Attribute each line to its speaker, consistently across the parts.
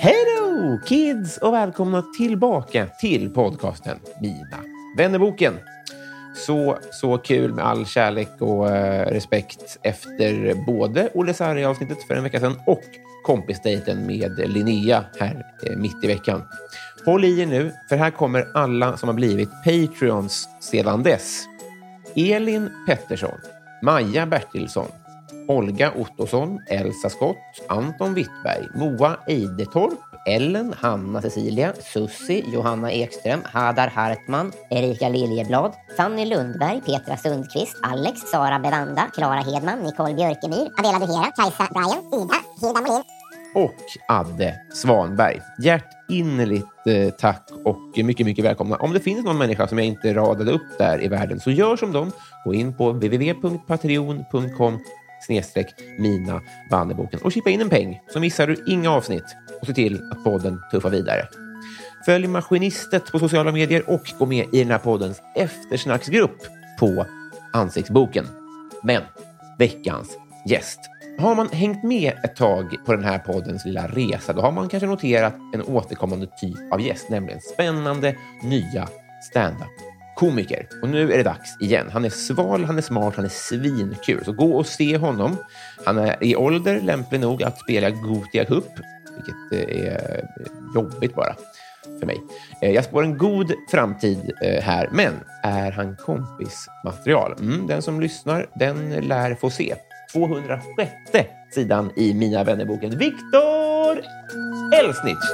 Speaker 1: Hej då kids och välkomna tillbaka till podcasten Mina vännerboken. Så, så kul med all kärlek och eh, respekt efter både Olle Sarri-avsnittet för en vecka sedan och kompisdejten med Linnea här eh, mitt i veckan. Håll i er nu, för här kommer alla som har blivit Patreons sedan dess. Elin Pettersson, Maja Bertilsson, Olga Ottosson, Elsa Skott, Anton Wittberg, Moa Eidetorp, Ellen, Hanna Cecilia,
Speaker 2: Sussi, Johanna Ekström, Hadar Hartman,
Speaker 3: Erika Liljeblad,
Speaker 2: Fanny Lundberg, Petra Sundqvist,
Speaker 3: Alex, Sara Bevanda, Klara Hedman, Nicole Björkemyr, Adela Duhera, Kajsa Bryan, Ida, Hilda Molin.
Speaker 1: och Adde Svanberg. Hjärtinnerligt eh, tack och mycket, mycket välkomna. Om det finns någon människa som jag inte radade upp där i världen så gör som dem. Gå in på www.patreon.com snedstreck mina Vannerboken och chippa in en peng så missar du inga avsnitt och se till att podden tuffar vidare. Följ Maskinistet på sociala medier och gå med i den här poddens eftersnacksgrupp på Ansiktsboken. Men veckans gäst. Har man hängt med ett tag på den här poddens lilla resa, då har man kanske noterat en återkommande typ av gäst, nämligen spännande nya standup-komiker. Och nu är det dags igen. Han är sval, han är smart, han är svinkul. Så gå och se honom. Han är i ålder lämplig nog att spela Gothia Cup, vilket eh, är jobbigt bara för mig. Eh, Jag spår en god framtid eh, här, men är han kompismaterial? Mm, den som lyssnar, den lär få se. 206 sidan i Mina vännerboken. Viktor Elsnitz!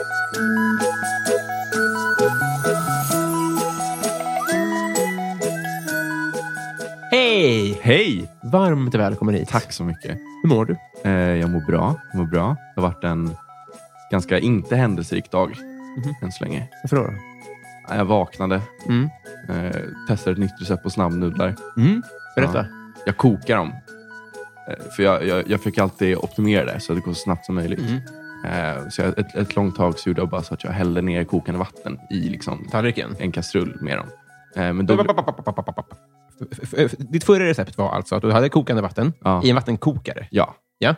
Speaker 1: Hej!
Speaker 4: Hej!
Speaker 1: Varmt välkommen hit.
Speaker 4: Tack så mycket.
Speaker 1: Hur mår du?
Speaker 4: Eh, jag mår bra. Jag mår bra. Det har varit en ganska inte händelserik dag än så länge.
Speaker 1: Varför då?
Speaker 4: Eh, Jag vaknade,
Speaker 1: Mm.
Speaker 4: eh, testade ett nytt recept på snabbnudlar.
Speaker 1: Mm. Berätta.
Speaker 4: Jag kokar dem. Eh, för jag, jag, jag fick alltid optimera det så att det går så snabbt som möjligt.
Speaker 1: Mm.
Speaker 4: Eh, så jag, ett, ett långt tag så gjorde jag bara så att jag hällde ner kokande vatten i liksom
Speaker 1: Tallriken.
Speaker 4: en kastrull med dem. Eh, men då,
Speaker 1: F- f- Ditt förra recept var alltså att du hade kokande vatten
Speaker 4: Ja.
Speaker 1: i en vattenkokare.
Speaker 4: ja,
Speaker 1: Ja.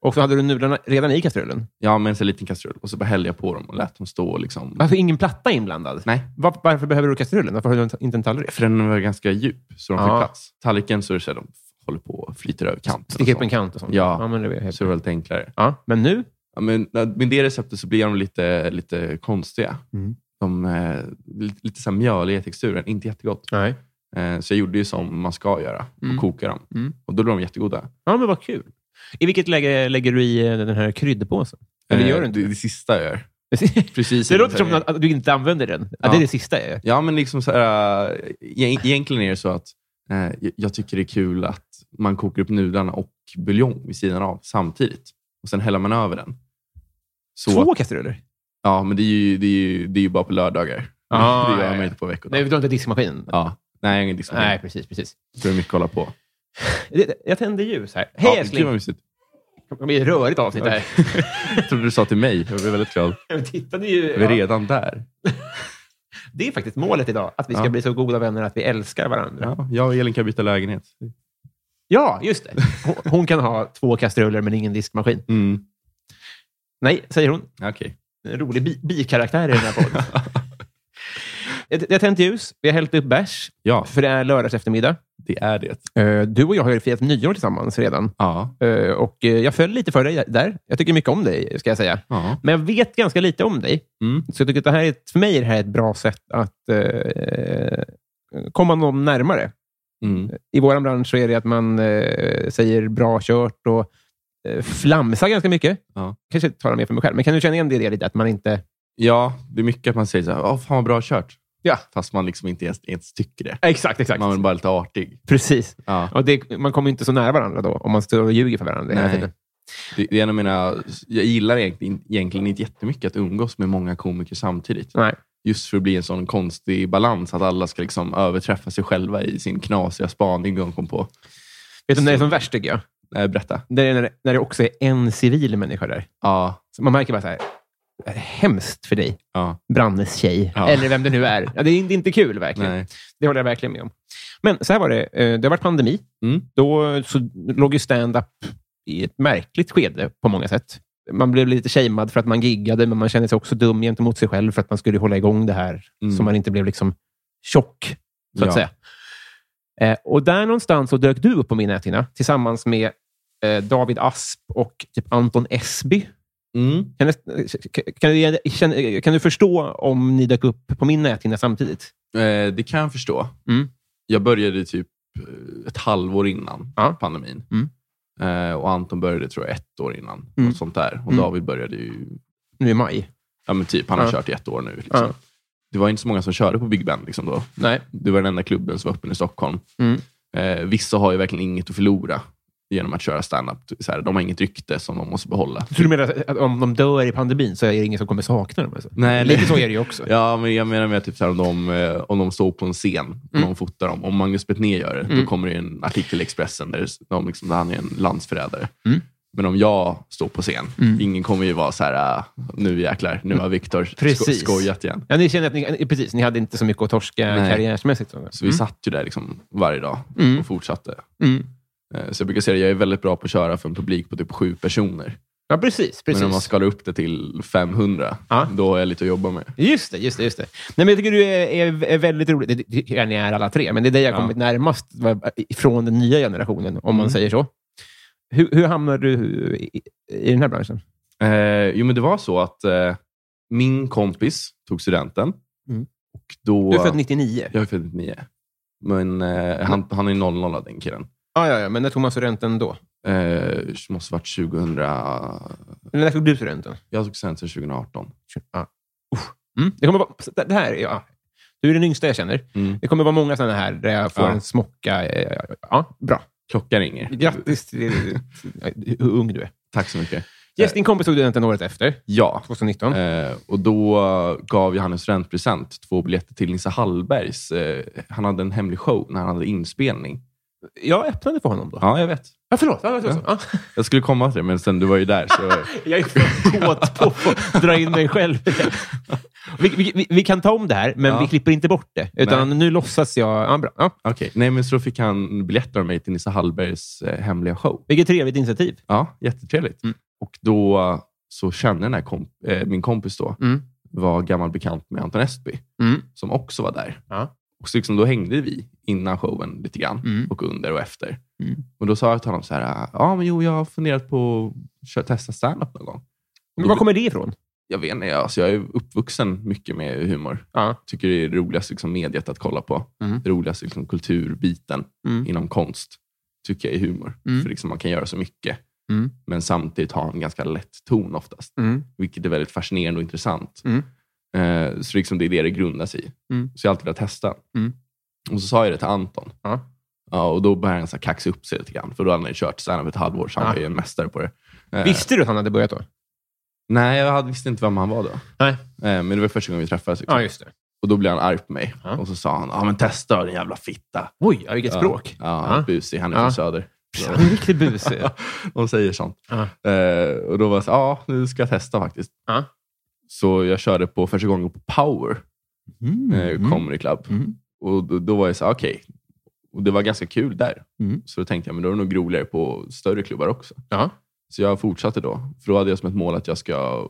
Speaker 1: Och så hade du nudlarna redan i kastrullen.
Speaker 4: ja, med en sån liten kastrull. Och så bara hällde jag på dem och lät dem stå. och Liksom.
Speaker 1: Varför ingen platta inblandad?
Speaker 4: Nej.
Speaker 1: Var, varför behöver du kastrullen? Varför har du inte en tallrik?
Speaker 4: För den var ganska djup, så de fick
Speaker 1: Ja.
Speaker 4: plats. Tallriken så är det så att de håller på och flyter över kanten. och
Speaker 1: Sticka upp
Speaker 4: så.
Speaker 1: en kant och sånt?
Speaker 4: Ja.
Speaker 1: men, det är helt...
Speaker 4: Så det var lite enklare.
Speaker 1: ja. men nu?
Speaker 4: Ja, men med det receptet så blir de lite, lite konstiga.
Speaker 1: Mm.
Speaker 4: De, eh, lite lite så här mjöliga i texturen. Inte jättegott.
Speaker 1: Nej.
Speaker 4: Eh, så jag gjorde ju som man ska göra och
Speaker 1: Mm.
Speaker 4: koka dem.
Speaker 1: Mm.
Speaker 4: Och då blir de jättegoda.
Speaker 1: Ja, men vad kul. I vilket läge lägger du i eh, den här kryddpåsen? Eller gör du
Speaker 4: Eh,
Speaker 1: inte
Speaker 4: det? är Det sista jag gör.
Speaker 1: det?
Speaker 4: Precis
Speaker 1: Det
Speaker 4: innan
Speaker 1: låter som
Speaker 4: servering.
Speaker 1: att att du inte använder den. Att
Speaker 4: Ja.
Speaker 1: det är det sista jag gör.
Speaker 4: Ja, men liksom så här, eh, e- egentligen är det så att eh, jag tycker det är kul att man kokar upp nudlarna och buljong vid sidan av samtidigt. Och Sen häller man över den. Så
Speaker 1: Två
Speaker 4: att-
Speaker 1: kastruller?
Speaker 4: Ja, men det är ju, det är ju, det är ju bara på lördagar.
Speaker 1: Ah,
Speaker 4: det gör
Speaker 1: ja,
Speaker 4: man
Speaker 1: ja.
Speaker 4: inte på veckodagar.
Speaker 1: Nej, du har inte diskmaskin?
Speaker 4: Ja. Nej, jag har ingen diskmaskin.
Speaker 1: Nej, precis. precis.
Speaker 4: Så det är mycket att hålla på.
Speaker 1: Det- Jag tänder ljus här. Hej
Speaker 4: Ja,
Speaker 1: älskling!
Speaker 4: gud vad mysigt.
Speaker 1: Det kommer bli ett rörigt avsnitt här.
Speaker 4: Jag trodde du sa till mig. Jag blev väldigt glad.
Speaker 1: Vi tittade
Speaker 4: Är vi
Speaker 1: ju... Ja,
Speaker 4: redan där?
Speaker 1: det är faktiskt målet idag, att vi ska
Speaker 4: Ja.
Speaker 1: bli så goda vänner att vi älskar varandra. Ja,
Speaker 4: Ja, jag och Elin kan byta lägenhet.
Speaker 1: just det. Hon, hon kan ha två kastruller men ingen diskmaskin.
Speaker 4: Mm.
Speaker 1: Nej, säger hon.
Speaker 4: Okej.
Speaker 1: En rolig bi- bikaraktär i den här podden. jag, jag har tänt ljus, vi har hällt upp bärs,
Speaker 4: Ja,
Speaker 1: för det är lördags eftermiddag.
Speaker 4: det är det.
Speaker 1: Eh, Du och jag har ju firat nyår tillsammans redan.
Speaker 4: Ja.
Speaker 1: Eh, Och eh, jag föll lite för dig där. Jag tycker mycket om dig, ska jag säga.
Speaker 4: ja.
Speaker 1: Men jag vet ganska lite om dig.
Speaker 4: Mm.
Speaker 1: Så jag tycker att det här är, ett- för mig är det här ett bra sätt att eh, komma någon närmare.
Speaker 4: Mm.
Speaker 1: I vår bransch så är det att man eh, säger bra kört och eh, flamsar ganska mycket.
Speaker 4: Ja.
Speaker 1: Kanske talar mer för mig själv, men kan du känna igen det i det lite? Att man inte...
Speaker 4: ja, det är mycket att man säger så här, "Åh, fan vad bra kört.
Speaker 1: Ja.
Speaker 4: Fast man liksom inte ens, ens tycker det.
Speaker 1: Exakt, exakt.
Speaker 4: Man är bara lite artig.
Speaker 1: Precis.
Speaker 4: Ja.
Speaker 1: Och det, man kommer ju inte så nära varandra då, om man står och ljuger för varandra hela
Speaker 4: Nej.
Speaker 1: tiden.
Speaker 4: Det, det är en av mina, jag gillar egentligen, egentligen inte jättemycket att umgås med många komiker samtidigt.
Speaker 1: Nej.
Speaker 4: Just för att bli en sån konstig balans, att alla ska liksom överträffa sig själva i sin knasiga spaning de kom på.
Speaker 1: Vet du när det är som värst, tycker jag?
Speaker 4: Eh, berätta.
Speaker 1: Det är när, det- när det också är en civil människa där.
Speaker 4: Ja,
Speaker 1: Så man märker bara så här, det här är hemskt för dig,
Speaker 4: ja,
Speaker 1: Brannes tjej,
Speaker 4: Ja.
Speaker 1: eller vem det nu är. Ja, det, är, det är inte kul, verkligen.
Speaker 4: nej.
Speaker 1: Det håller jag verkligen med om. Men så här var det. eh, Det har varit pandemi.
Speaker 4: Mm.
Speaker 1: Då så låg ju stand-up i ett märkligt skede på många sätt. Man blev lite shamead för att man giggade, men man kände sig också dum gentemot sig själv för att man skulle hålla igång det här,
Speaker 4: Mm.
Speaker 1: så man inte blev liksom tjock, så att
Speaker 4: Ja.
Speaker 1: säga. Eh, Och där någonstans så dök du upp på min näthinna tillsammans med eh, David Asp och typ Anton Esby.
Speaker 4: Mm.
Speaker 1: Kan, du- kan, du, känner- kan du förstå om ni dök upp på min näthinna samtidigt?
Speaker 4: Eh, det kan jag förstå.
Speaker 1: Mm.
Speaker 4: Jag började typ eh, ett halvår innan
Speaker 1: Ja.
Speaker 4: pandemin.
Speaker 1: Mm.
Speaker 4: Eh, och Anton började tror jag ett år innan.
Speaker 1: Mm.
Speaker 4: Något sånt där. Och
Speaker 1: Mm.
Speaker 4: David började ju...
Speaker 1: Nu i maj?
Speaker 4: Ja, men typ, han har
Speaker 1: Ja.
Speaker 4: kört i ett år nu. Liksom.
Speaker 1: Ja.
Speaker 4: Det var inte så många som körde på Big Ben liksom, då.
Speaker 1: Nej.
Speaker 4: Det var den enda klubben som var öppen i Stockholm.
Speaker 1: Mm.
Speaker 4: Eh, vissa har ju verkligen inget att förlora genom att köra standup. Så här, de har inget rykte som de måste behålla.
Speaker 1: Så du menar att om de dör i pandemin så är det ingen som kommer sakna dem? Alltså?
Speaker 4: Nej,
Speaker 1: Lite
Speaker 4: nej.
Speaker 1: så är det ju också.
Speaker 4: Ja, men jag menar med typ så här, om, de, eh, om de står på en scen och
Speaker 1: Mm.
Speaker 4: någon fotar dem. Om Magnus Betnér gör det,
Speaker 1: Mm.
Speaker 4: då kommer det en artikel i Expressen där, de liksom, där han är en landsförrädare.
Speaker 1: Mm.
Speaker 4: Men om jag står på scen,
Speaker 1: Mm.
Speaker 4: ingen kommer ju vara så här, "Ah, nu jäklar, nu har Viktor sko-
Speaker 1: Precis.
Speaker 4: skojat igen.
Speaker 1: Ja, ni känner att ni, precis, ni hade inte så mycket att torska
Speaker 4: Nej.
Speaker 1: karriärsmässigt. Så.
Speaker 4: Så vi satt ju där liksom varje dag
Speaker 1: Mm.
Speaker 4: och fortsatte.
Speaker 1: Mm.
Speaker 4: Eh, Så jag brukar säga att jag är väldigt bra på att köra för en publik på typ sju personer.
Speaker 1: Ja, precis. precis.
Speaker 4: Men om man skalar upp det till 500,
Speaker 1: Ja.
Speaker 4: då har jag lite att jobba med.
Speaker 1: Just det, just det. Just det. Nej, men jag tycker du är, är, är väldigt rolig. Det tycker jag ni är alla tre, men det är dig jag
Speaker 4: Ja.
Speaker 1: kommit närmast från den nya generationen, om man
Speaker 4: Mm.
Speaker 1: säger så. Hur, hur hamnade du i, i den här branschen?
Speaker 4: Eh, jo, men det var så att eh, min kompis tog studenten.
Speaker 1: Mm.
Speaker 4: Och då,
Speaker 1: Du är född 99.
Speaker 4: Jag är född 99. Men eh, han, han är 00 den killen.
Speaker 1: Ja, ja, ja, men när tog man studenten då?
Speaker 4: Eh, måste varit 2000...
Speaker 1: Eller när tog du studenten?
Speaker 4: Jag tog studenten 2018.
Speaker 1: Ja. Uff. Mm. Det kommer vara... Det här, är- ja. Du är den yngsta jag känner.
Speaker 4: Mm.
Speaker 1: Det kommer vara många sådana här där jag får
Speaker 4: Ja.
Speaker 1: en smocka. eh, Ja, bra.
Speaker 4: Klockan ringer.
Speaker 1: Grattis till hur ung du är.
Speaker 4: Tack så mycket.
Speaker 1: Yes, din kompis tog studenten året efter,
Speaker 4: Ja.
Speaker 1: 2019.
Speaker 4: Eh, och då gav jag han en studentpresent, två biljetter till Nisse Hallbergs. Eh, han hade en hemlig show när han hade inspelning.
Speaker 1: Jag öppnade för honom då.
Speaker 4: Ja, jag vet.
Speaker 1: Ja, förlåt. Ja, jag, ja.
Speaker 4: Jag skulle komma till det, men sen du var ju där. Så...
Speaker 1: jag är för kåt på att dra in mig själv. Vi, vi, vi, vi kan ta om det här, men
Speaker 4: Ja.
Speaker 1: vi klipper inte bort det. Utan nu låtsas jag... Ja, bra. Ja.
Speaker 4: Okej, nej men så då fick han biljetter av mig till Nisse Hallbergs eh, hemliga show.
Speaker 1: Vilket trevligt initiativ.
Speaker 4: Ja, jättetrevligt.
Speaker 1: Mm.
Speaker 4: Och då eh, så kände den här komp- eh, min kompis då,
Speaker 1: Mm.
Speaker 4: var gammal bekant med Anton Esby,
Speaker 1: Mm.
Speaker 4: som också var där.
Speaker 1: Ja.
Speaker 4: Och så liksom, då hängde vi innan showen lite grann,
Speaker 1: Mm.
Speaker 4: och under och efter.
Speaker 1: Mm.
Speaker 4: Och då sa jag till honom så här, "Ah, ja men jo, jag har funderat på att köra- testa stand-up någon gång.
Speaker 1: Men var kommer det ifrån?
Speaker 4: Jag vet inte, jag- alltså, jag är uppvuxen mycket med humor.
Speaker 1: Ja.
Speaker 4: Tycker det är det roligaste liksom, mediet att kolla på.
Speaker 1: Mm.
Speaker 4: Det roligaste liksom, kulturbiten
Speaker 1: Mm.
Speaker 4: inom konst tycker jag är humor.
Speaker 1: Mm.
Speaker 4: För liksom, man kan göra så mycket,
Speaker 1: Mm.
Speaker 4: men samtidigt ha en ganska lätt ton oftast.
Speaker 1: Mm.
Speaker 4: Vilket är väldigt fascinerande och intressant.
Speaker 1: Mm.
Speaker 4: Eh, så liksom, det är det det grundar sig i.
Speaker 1: Mm.
Speaker 4: Så jag har alltid velat testa.
Speaker 1: Mm.
Speaker 4: Och så sa jag det till Anton.
Speaker 1: Ja.
Speaker 4: Ja, och då började han så här kaxa upp sig lite grann. För då hade han ju kört standup ett halvår, så han
Speaker 1: Ja.
Speaker 4: var ju en mästare på det. Eh,
Speaker 1: Visste du att han hade börjat då?
Speaker 4: Nej, jag hade, visste inte vem han var då.
Speaker 1: Nej.
Speaker 4: Eh, men det var första gången vi träffades. Liksom.
Speaker 1: Ja, just det.
Speaker 4: Och då blev han arg på mig.
Speaker 1: Ja.
Speaker 4: Och så sa han, ja men testa då, din jävla fitta.
Speaker 1: Oj, ja, vilket
Speaker 4: Ja.
Speaker 1: språk.
Speaker 4: Ja,
Speaker 1: Ja.
Speaker 4: busig. Han är
Speaker 1: Ja.
Speaker 4: från Söder.
Speaker 1: Ja, En riktig busig.
Speaker 4: De säger sånt.
Speaker 1: Ja.
Speaker 4: Eh, och då var jag så ja nu ska jag testa faktiskt.
Speaker 1: Ja.
Speaker 4: Så jag körde på första gången på Power eh, Comedy Club.
Speaker 1: Mm.
Speaker 4: Och då, då var jag så här, okej. Och det var ganska kul där.
Speaker 1: Mm.
Speaker 4: Så då tänkte jag, men då är det nog roligare på större klubbar också.
Speaker 1: Ja.
Speaker 4: Så jag fortsatte då. För då hade jag som ett mål att jag ska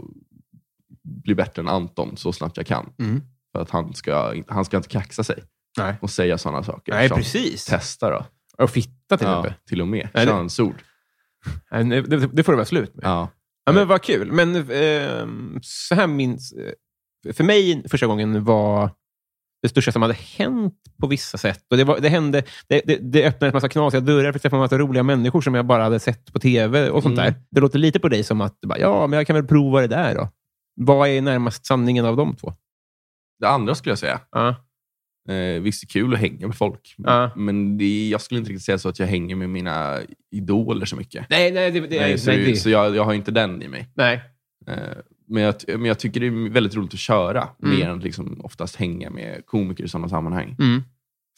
Speaker 4: bli bättre än Anton så snabbt jag kan.
Speaker 1: Mm.
Speaker 4: För att han ska, han ska inte kaxa sig
Speaker 1: Nej.
Speaker 4: och säga sådana saker.
Speaker 1: Nej,
Speaker 4: som
Speaker 1: precis.
Speaker 4: Testa då.
Speaker 1: Och fitta till
Speaker 4: Ja,
Speaker 1: exempel.
Speaker 4: till och med.
Speaker 1: Nej, det-
Speaker 4: Könsord.
Speaker 1: Nej, nu- Det, det får det vara slut med. Ja.
Speaker 4: Ja.
Speaker 1: men vad kul. Men eh, så här minns... eh, För mig första gången var det största som hade hänt på vissa sätt. Och det, var, det, hände, det, det, det öppnades en massa knasiga dörrar för att träffa en massa roliga människor som jag bara hade sett på tv och sånt
Speaker 4: Mm.
Speaker 1: där. Det låter lite på dig som att, bara, ja, men jag kan väl prova det där då. Vad är närmast sanningen av de två?
Speaker 4: Det andra skulle jag säga.
Speaker 1: Ja.
Speaker 4: Eh, visst, det är kul att hänga med folk.
Speaker 1: Ja.
Speaker 4: Men det, jag skulle inte riktigt säga så att jag hänger med mina idoler så mycket.
Speaker 1: Nej, nej, det, det,
Speaker 4: Nej,
Speaker 1: nej,
Speaker 4: så
Speaker 1: nej, det,
Speaker 4: så jag, jag har inte den i mig.
Speaker 1: nej.
Speaker 4: Eh, men, jag, ty- men jag tycker det är väldigt roligt att köra,
Speaker 1: Mm.
Speaker 4: mer än att liksom oftast hänga med komiker i sådana sammanhang.
Speaker 1: Mm.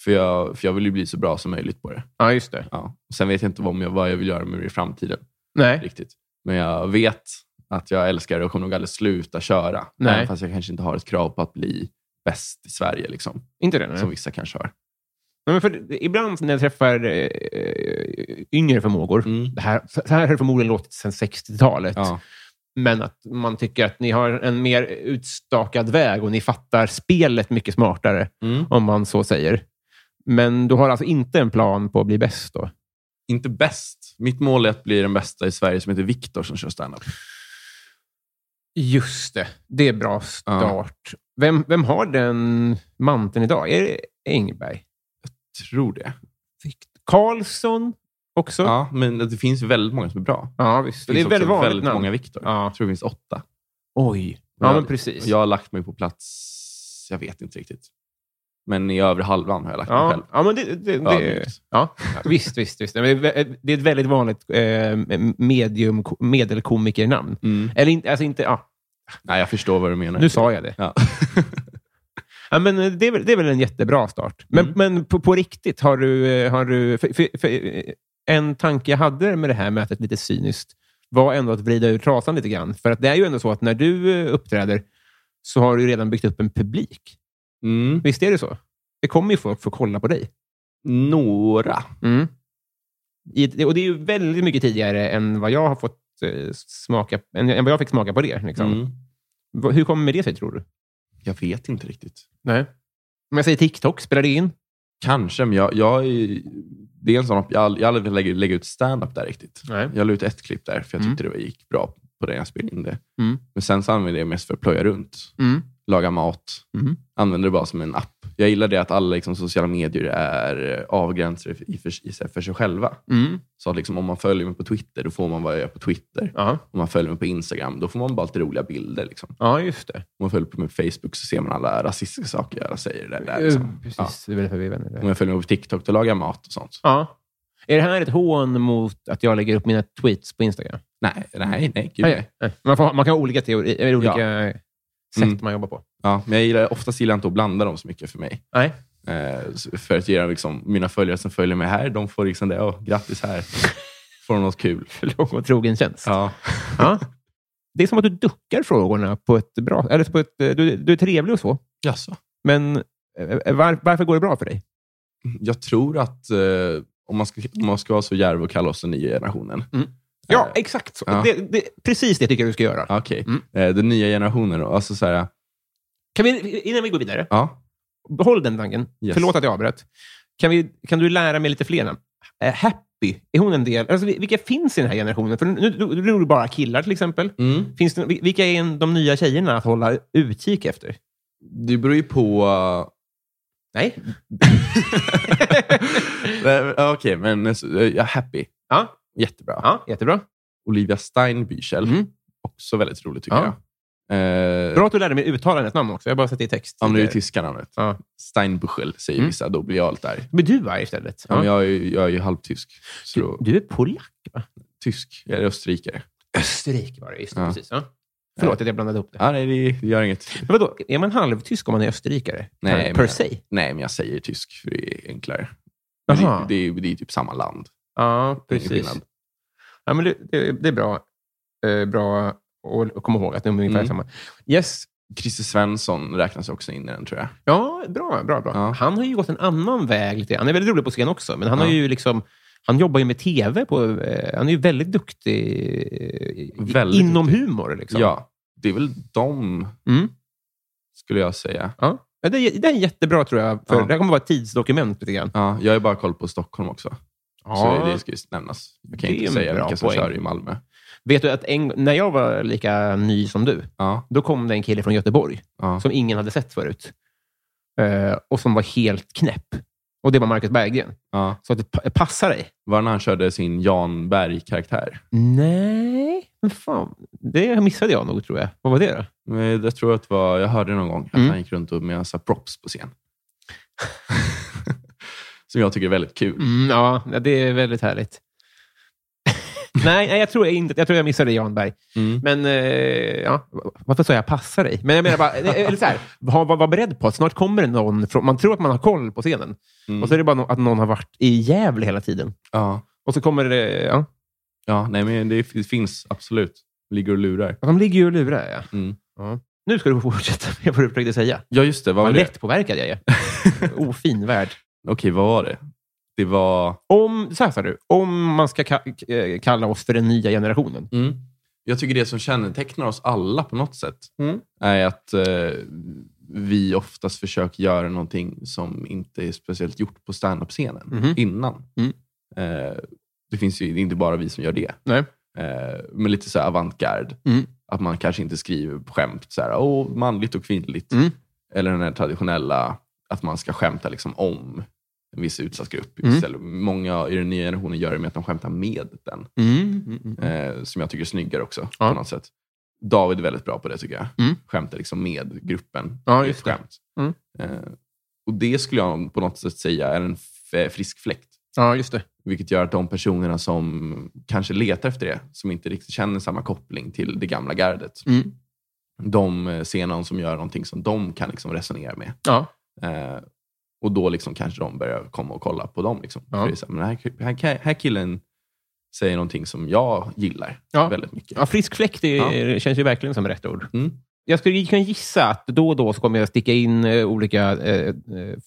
Speaker 4: För, jag, för jag vill ju bli så bra som möjligt på det.
Speaker 1: Ja, just det.
Speaker 4: Ja. Sen vet jag inte vad jag, vad jag vill göra med det i framtiden.
Speaker 1: Nej.
Speaker 4: riktigt. Men jag vet att jag älskar det och kommer nog aldrig sluta köra.
Speaker 1: Nej.
Speaker 4: Även fast jag kanske inte har ett krav på att bli bäst i Sverige, liksom,
Speaker 1: Inte det? Nej.
Speaker 4: som vissa kanske har.
Speaker 1: Nej, men för, ibland när jag träffar eh, yngre förmågor, det här, så här har det förmodligen låtit sedan 60-talet,
Speaker 4: Ja.
Speaker 1: men att man tycker att ni har en mer utstakad väg och ni fattar spelet mycket smartare,
Speaker 4: Mm.
Speaker 1: om man så säger. Men du har alltså inte en plan på att bli bäst då?
Speaker 4: Inte bäst. Mitt mål är att bli den bästa i Sverige som heter Viktor som kör standup.
Speaker 1: Just det. Det är bra start. Vem, vem har den manteln idag? Är det Engberg?
Speaker 4: Tror det.
Speaker 1: Karlsson också?
Speaker 4: Ja, men det finns ju väldigt många som är bra.
Speaker 1: Ja, visst. Det, är
Speaker 4: finns
Speaker 1: väldigt
Speaker 4: också
Speaker 1: vanligt
Speaker 4: väldigt
Speaker 1: namn.
Speaker 4: många Viktor.
Speaker 1: Ja.
Speaker 4: Jag tror det finns åtta.
Speaker 1: Oj. Ja,
Speaker 4: Jag-
Speaker 1: men precis.
Speaker 4: Jag har lagt mig på plats... Jag vet inte riktigt. Men i övre halvan har jag lagt mig själv.
Speaker 1: Ja, ja, men det, det, det,
Speaker 4: Ödmjukt.
Speaker 1: ja, visst, visst. visst. Men Det är vä- det är ett väldigt vanligt eh, medium, medelkomikernamn.
Speaker 4: Mm.
Speaker 1: Eller inte, alltså inte, ja,
Speaker 4: Nej, jag förstår vad du menar.
Speaker 1: nu sa jag det.
Speaker 4: Ja.
Speaker 1: Ja, men eh, det, är väl, det är väl en jättebra start. Men,
Speaker 4: Mm.
Speaker 1: men på, på riktigt, har du... eh, Har du för, för, för, eh, en tanke jag hade med det här mötet, lite cyniskt, var ändå att vrida ur trasan lite grann. För att det är ju ändå så att när du eh, uppträder så har du ju redan byggt upp en publik.
Speaker 4: Mm.
Speaker 1: Visst är det så? Det kommer ju folk för att kolla på dig.
Speaker 4: Några.
Speaker 1: Mm. I, och det är ju väldigt mycket tidigare än vad jag har fått eh, smaka, än, än vad jag fick smaka på det. Liksom.
Speaker 4: Mm.
Speaker 1: Va- Hur kommer det sig, tror du?
Speaker 4: Jag vet inte riktigt.
Speaker 1: Nej. Om jag säger TikTok, spelar det in?
Speaker 4: Kanske, men jag, jag är, det är en sån, jag har ald- jag har aldrig velat lägga, lägga ut stand-up där riktigt.
Speaker 1: Nej.
Speaker 4: Jag la ut ett klipp där, för jag tyckte det gick bra på det jag spelade in det.
Speaker 1: Mm.
Speaker 4: Men sen så använde jag det mest för att plöja runt,
Speaker 1: Mm.
Speaker 4: laga mat.
Speaker 1: Mm.
Speaker 4: Använde det bara som en app. Jag gillar det att alla liksom, sociala medier är eh, avgränsade i för, i, sig- för sig själva.
Speaker 1: Mm.
Speaker 4: Så att liksom, om man följer mig på Twitter, då får man vad jag gör på Twitter.
Speaker 1: Ja.
Speaker 4: Om man följer mig på Instagram, då får man bara lite roliga bilder. Liksom.
Speaker 1: ja, just det.
Speaker 4: Om man följer på mig på Facebook så ser man alla rasistiska saker jag säger. Där, där, liksom.
Speaker 1: Eh, Precis, det är väl därför vi är vänner.
Speaker 4: Om jag följer mig på TikTok, då lagar jag mat och sånt.
Speaker 1: Ja. Är det här ett hån mot att jag lägger upp mina tweets på Instagram?
Speaker 4: Nej, nej, nej. Gud, nej.
Speaker 1: Nej, nej. Man, får, ha- man kan ha olika teorier, eller olika sätt
Speaker 4: Mm.
Speaker 1: man jobbar på.
Speaker 4: Ja, men jag gillar, oftast gillar jag inte att blanda dem så mycket för mig.
Speaker 1: Nej.
Speaker 4: Eh, så- för att ge liksom, mina följare som följer mig här, de får liksom det. Oh, grattis här. får de något kul.
Speaker 1: Lång och trogen tjänst.
Speaker 4: Ja.
Speaker 1: Ja. Det är som att du duckar frågorna på ett bra... Eller på ett, eh, du, du är trevlig och så,
Speaker 4: Jaså.
Speaker 1: men eh, var, varför går det bra för dig?
Speaker 4: Jag tror att eh, om, man ska, om man ska vara så djärv och kalla oss den nya generationen.
Speaker 1: Eh, Ja, exakt så.
Speaker 4: ja.
Speaker 1: Det, det, precis det tycker jag du ska göra.
Speaker 4: Ja, Okej.
Speaker 1: Mm.
Speaker 4: Eh, den nya generationen då. Alltså så här,
Speaker 1: Kan vi, innan vi går vidare,
Speaker 4: ja.
Speaker 1: behåll den tanken.
Speaker 4: Yes.
Speaker 1: Förlåt att jag avbröt. Kan, vi, kan du lära mig lite fler namn? Eh, happy, är hon en del... Alltså, vil- vilka finns i den här generationen? För nu, nu, nu är det bara killar till exempel.
Speaker 4: Mm.
Speaker 1: Finns det, vil- vilka är de nya tjejerna att hålla utkik efter?
Speaker 4: Det beror ju på...
Speaker 1: Nej.
Speaker 4: Nej, Okej, men eh, så- eh, jag är happy.
Speaker 1: Ja.
Speaker 4: Jättebra.
Speaker 1: ja, jättebra.
Speaker 4: Olivia Steinbüchel.
Speaker 1: Mm.
Speaker 4: Också väldigt roligt tycker
Speaker 1: Ja.
Speaker 4: jag. Eh,
Speaker 1: Bra att du lärde mig uttala hennes namn också. Jag har bara sett det i text.
Speaker 4: Ja, men det är ju typ- tyska namnet.
Speaker 1: Ja.
Speaker 4: Steinbuchel säger
Speaker 1: Mm.
Speaker 4: vissa. Då blir jag lite arg.
Speaker 1: Men du är istället.
Speaker 4: Ja. men jag, är ju, jag är ju halvtysk. Så
Speaker 1: du,
Speaker 4: då,
Speaker 1: du är polack.
Speaker 4: tysk. Jag är österrikare.
Speaker 1: Österrike var det, just det.
Speaker 4: Ja.
Speaker 1: Precis, ja. Förlåt att jag blandade upp det.
Speaker 4: Ja, nej, det gör inget.
Speaker 1: Men vadå, är man halvtysk om man är österrikare?
Speaker 4: Nej,
Speaker 1: per,
Speaker 4: men-
Speaker 1: per se?
Speaker 4: Nej, men jag säger tysk för det är enklare. Men det,
Speaker 1: Jaha.
Speaker 4: det, är- det är typ samma land.
Speaker 1: Ja,
Speaker 4: Det är ingen
Speaker 1: precis.
Speaker 4: skillnad.
Speaker 1: Ja, men det, det, det är bra, eh, bra att att komma ihåg att de är ungefär
Speaker 4: Mm.
Speaker 1: samma. Yes.
Speaker 4: Christer Svensson räknas också in i den, tror jag.
Speaker 1: Ja, bra. bra, bra.
Speaker 4: Ja.
Speaker 1: Han har ju gått en annan väg. Lite. Han är väldigt rolig på scen också, men han, har
Speaker 4: Ja.
Speaker 1: ju liksom, han jobbar ju med tv. På, eh, han är ju väldigt duktig eh, i-
Speaker 4: Väldigt
Speaker 1: inom humor. Liksom.
Speaker 4: Ja, det är väl de,
Speaker 1: Mm.
Speaker 4: skulle jag säga.
Speaker 1: Ja. Ja, det, är- det är jättebra, tror jag. För
Speaker 4: Ja.
Speaker 1: Det här kommer vara ett tidsdokument lite grann.
Speaker 4: Ja, jag har ju bara koll på Stockholm också. Så det ska ju nämnas. Jag kan
Speaker 1: Det är
Speaker 4: inte
Speaker 1: en
Speaker 4: säga
Speaker 1: bra
Speaker 4: vilka som
Speaker 1: poäng.
Speaker 4: kör i Malmö.
Speaker 1: Vet du att en, när jag var lika ny som du,
Speaker 4: Ja,
Speaker 1: då kom det en kille från Göteborg
Speaker 4: ja.
Speaker 1: som ingen hade sett förut. Eh, och som var helt knäpp. Och det var Marcus Berggren.
Speaker 4: ja.
Speaker 1: Så att det pa- passar dig.
Speaker 4: Var det när han körde sin Jan Berg-karaktär?
Speaker 1: Nej, men fan. Det missade jag nog, tror jag. Vad var det då?
Speaker 4: Men Jag tror att Eh, det var, jag hörde någon gång att
Speaker 1: Mm.
Speaker 4: han gick runt och med en massa props på scen. som jag tycker är väldigt kul.
Speaker 1: Mm, ja, ja, det är väldigt härligt. nej, nej, jag tror jag inte. Jag tror jag missade Jan Berg.
Speaker 4: Mm.
Speaker 1: Men eh, ja, varför sa jag passa dig? Men jag menar bara, eh, eller så här, var, var, var beredd på att snart kommer det någon från... Man tror att man har koll på scenen.
Speaker 4: Mm.
Speaker 1: Och så är det bara no- att någon har varit i Gävle hela tiden.
Speaker 4: ja.
Speaker 1: Och så kommer det... Ja,
Speaker 4: ja, nej men det f- finns absolut. Ligger och lurar.
Speaker 1: de ligger ju och lurar. Ja.
Speaker 4: Mm.
Speaker 1: Ja. Nu ska du få fortsätta med vad du försökte säga.
Speaker 4: Ja, just det. Vad var
Speaker 1: Vad
Speaker 4: det?
Speaker 1: lättpåverkad jag är. Ofin värld.
Speaker 4: Okej, vad var det? Det var...
Speaker 1: Om, så här sa du, om man ska ka- k- eh, kalla oss för den nya generationen.
Speaker 4: Jag tycker det som kännetecknar oss alla på något sätt
Speaker 1: Mm.
Speaker 4: är att eh, vi oftast försöker göra någonting som inte är speciellt gjort på standup-scenen
Speaker 1: Mhm.
Speaker 4: innan.
Speaker 1: Mm.
Speaker 4: Eh, det finns ju det är inte bara vi som gör det.
Speaker 1: Nej.
Speaker 4: Eh, men lite så här avantgarde.
Speaker 1: Mm.
Speaker 4: Att man kanske inte skriver på skämt så här, Åh, manligt och kvinnligt.
Speaker 1: Mm.
Speaker 4: Eller den här traditionella, att man ska skämta liksom om en viss utsatt grupp.
Speaker 1: Mm.
Speaker 4: Istället, många i den nya generationen gör det med att de skämtar med den.
Speaker 1: Mm.
Speaker 4: Eh, som jag tycker är snyggare också
Speaker 1: Ja.
Speaker 4: på något sätt. David är väldigt bra på det tycker jag.
Speaker 1: Mm.
Speaker 4: Skämtar liksom med gruppen.
Speaker 1: Ja,
Speaker 4: Det är
Speaker 1: just
Speaker 4: ett
Speaker 1: det.
Speaker 4: Skämt.
Speaker 1: Mm.
Speaker 4: Eh, och det skulle jag på något sätt säga är en f- frisk fläkt.
Speaker 1: Ja, just det.
Speaker 4: Vilket gör att de personerna som kanske letar efter det, som inte riktigt känner samma koppling till det gamla gardet,
Speaker 1: Mm.
Speaker 4: de eh, ser någon som gör någonting som de kan liksom resonera med.
Speaker 1: Ja.
Speaker 4: Eh, och då liksom kanske de börjar komma och kolla på dem. Liksom.
Speaker 1: Ja.
Speaker 4: För det är så här, men den här, här, här killen säger någonting som jag gillar
Speaker 1: Ja.
Speaker 4: väldigt mycket.
Speaker 1: ja, frisk fläkt är, känns ju verkligen som rätt ord.
Speaker 4: Mm.
Speaker 1: Jag skulle kunna gissa att då och då så kommer jag sticka in eh, olika eh, eh,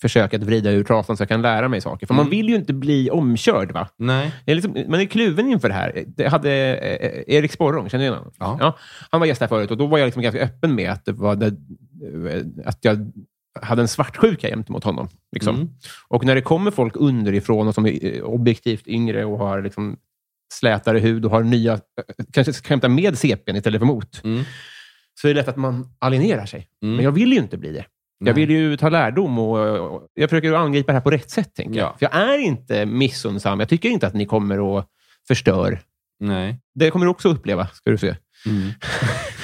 Speaker 1: försök att vrida ur trasan så jag kan lära mig saker. För man
Speaker 4: Mm.
Speaker 1: vill ju inte bli omkörd. va?
Speaker 4: Nej.
Speaker 1: Det är liksom, man är kluven inför det här. Det hade eh, eh, Erik Sporrong, känner du igen honom?
Speaker 4: Ja.
Speaker 1: han var gäst här förut och då var jag liksom ganska öppen med att, det var det, eh, att jag hade en svartsjuka gentemot honom. Liksom.
Speaker 4: Mm.
Speaker 1: Och när det kommer folk underifrån och som är eh, objektivt yngre och har liksom slätare hud och har nya, eh, kanske skämtar med CPn istället för mot,
Speaker 4: Mm.
Speaker 1: så är det lätt att man alienerar sig.
Speaker 4: Mm.
Speaker 1: Men jag vill ju inte bli det. Jag
Speaker 4: Nej.
Speaker 1: vill ju ta lärdom och, och jag försöker ju angripa det här på rätt sätt. Tänker
Speaker 4: Ja.
Speaker 1: jag. För jag är inte missundsam. Jag tycker inte att ni kommer och förstör.
Speaker 4: Nej.
Speaker 1: Det kommer du också uppleva, ska du se. Mm.